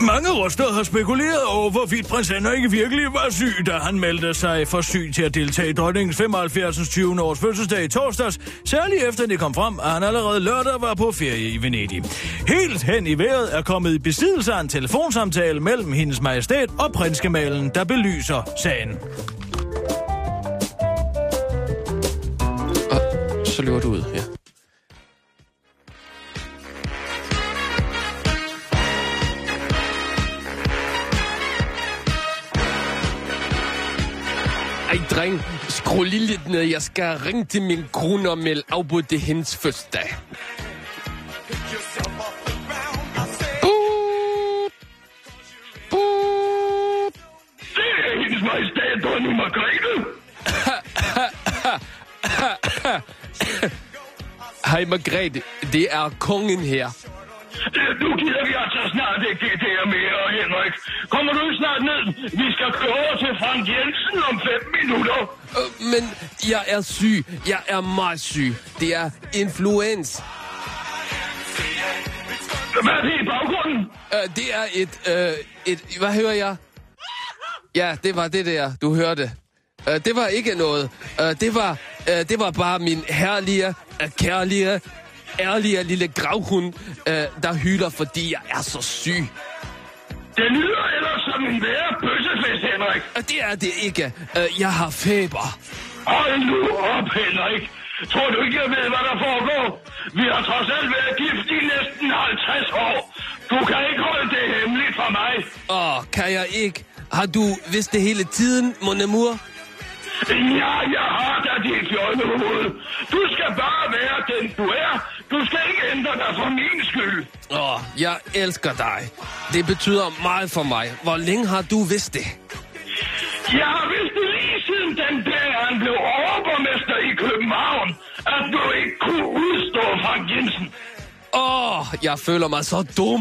Speaker 4: Mange røster har spekuleret over, hvorvidt prins Henrik virkelig var syg, da han meldte sig for syg til at deltage i dronningens 75. 20. års fødselsdag i torsdags, særligt efter det kom frem, at han allerede lørdag var på ferie i Venedig. Helt hen i vejret er kommet i besiddelse af en telefonsamtale mellem hendes majestæt og prinsgemalen, der belyser sagen.
Speaker 5: Så løber du ud, ja. Ej, dreng. Skru lige lidt ned. Jeg skal ringe til min kone og melde afbud til hendes fødselsdag. Boop. Boop.
Speaker 11: Det er hendes majestæt, dronning Margrethe.
Speaker 5: Hej, Margrethe. Det er kongen her.
Speaker 11: Øh, Nu gider vi altså snart ikke det der mere, Henrik. Kommer du snart ned? Vi skal køre over til Frank Jensen om fem minutter.
Speaker 5: Øh, Men jeg er syg. Jeg er meget syg. Det er influens.
Speaker 11: Hvad er det i baggrunden?
Speaker 5: Øh, det er et, øh, et... Hvad hører jeg? Ja, det var det der, du hørte. Øh, det var ikke noget. Øh, det, var, øh, det var bare min herlige, øh, kærlige, ærlige lille gravhund, øh, der hylder, fordi jeg er så syg.
Speaker 11: Det lyder ellers som en værre bøssefest, Henrik.
Speaker 5: Og det er det ikke. Øh, jeg har feber.
Speaker 11: Hold nu op, Henrik. Tror du ikke, jeg ved, hvad der foregår? Vi har trods alt været gift i næsten 50 år. Du kan ikke holde det hemmeligt fra mig.
Speaker 5: Åh, kan jeg ikke? Har du vidst det hele tiden, mon amour?
Speaker 11: Ja, jeg har da dit fjollehoved. Du skal bare være den, du er. Du skal ikke ændre dig for min skyld.
Speaker 5: Åh, jeg elsker dig. Det betyder meget for mig. Hvor længe har du vidst det?
Speaker 11: Jeg har vidst det lige siden den dag, han blev overborgmester i København, at du ikke kunne udstå Frank Jensen.
Speaker 5: Åh, jeg føler mig så dum.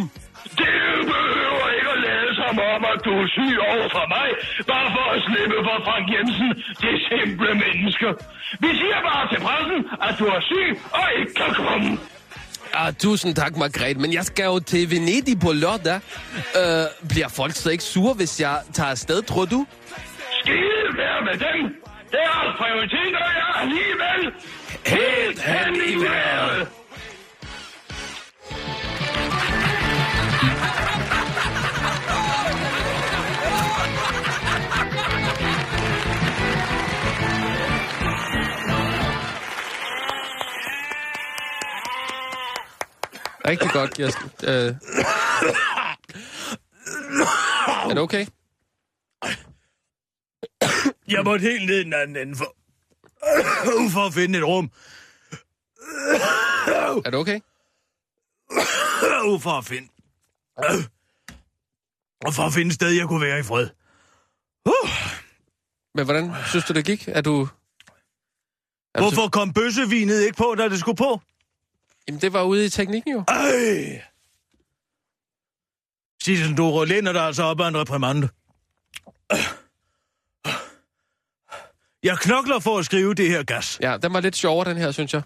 Speaker 11: Det behøver ikke at lade som om, at du er syg over for mig, bare for at slippe for Frank Jensen, det simple menneske. Vi siger bare til pressen, at du er syg og ikke kan komme.
Speaker 5: Ah, tusind tak, Margrethe, men jeg skal jo til Venedig på lørdag. Øh, bliver folk så ikke sure, hvis jeg tager afsted, tror du?
Speaker 11: Skide være med dem. Deres prioriteter er alligevel helt hen i vejret.
Speaker 5: Rigtig godt, Kirsten. Øh. Er det okay?
Speaker 12: Jeg måtte helt ned i den anden ende for... for at finde et rum.
Speaker 5: Er det okay?
Speaker 12: for at finde... Og for at finde et sted, jeg kunne være i fred.
Speaker 5: Men hvordan synes du, det gik? Er du... Er Du...
Speaker 12: Hvorfor kom bøssevinet ikke på, da det skulle på?
Speaker 5: Jamen, det var ude i teknikken jo.
Speaker 12: Ej! Sissel, du læner dig altså op af en reprimande. Jeg knokler for at skrive det her gas.
Speaker 5: Ja, den var lidt sjovere, den her, synes jeg.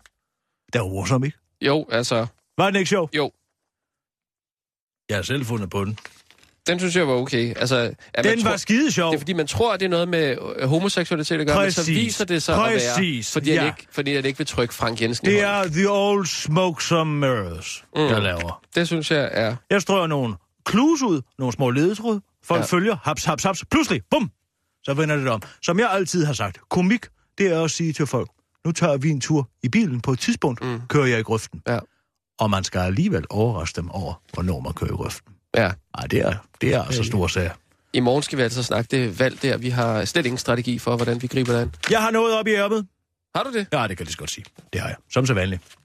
Speaker 12: Det er morsom, ikke?
Speaker 5: Jo, altså...
Speaker 12: Var den ikke sjov?
Speaker 5: Jo,
Speaker 12: Jeg har selv fundet på den.
Speaker 5: den synes jeg var okay. Altså, at man
Speaker 12: Den var
Speaker 5: tror-
Speaker 12: skide sjov.
Speaker 5: Det er fordi, man tror, at det er noget med øh, homoseksualitet at gøre, men så
Speaker 12: Præcis.
Speaker 5: viser det sig at være,
Speaker 12: Præcis,
Speaker 5: fordi, ja.
Speaker 12: ja.
Speaker 5: ikke, fordi at det ikke vil trykke Frank Jensen i
Speaker 12: Det
Speaker 5: hånden.
Speaker 12: er The Old Smoke Some Mirrors, mm. jeg laver.
Speaker 5: Det synes jeg er...
Speaker 12: Jeg strøger nogle klus ud, nogle små ledetråd,
Speaker 4: Folk ja. følger, haps, haps, haps, pludselig, bum, så vender det om. Som jeg altid har sagt, komik, det er at sige til folk, nu tager vi en tur i bilen på et tidspunkt, mm. kører jeg i grøften.
Speaker 5: Ja.
Speaker 4: Og man skal alligevel overraske dem over, hvornår man kører i grøften.
Speaker 5: Ja.
Speaker 4: Ej, det er, det er altså store sager.
Speaker 5: I morgen skal vi altså snakke det valg der. Vi har slet ingen strategi for, hvordan vi griber det an.
Speaker 4: Jeg har noget op i ærmet.
Speaker 5: Har du det?
Speaker 4: Ja, det kan jeg lige så godt sige. Det har jeg. Som så vanligt.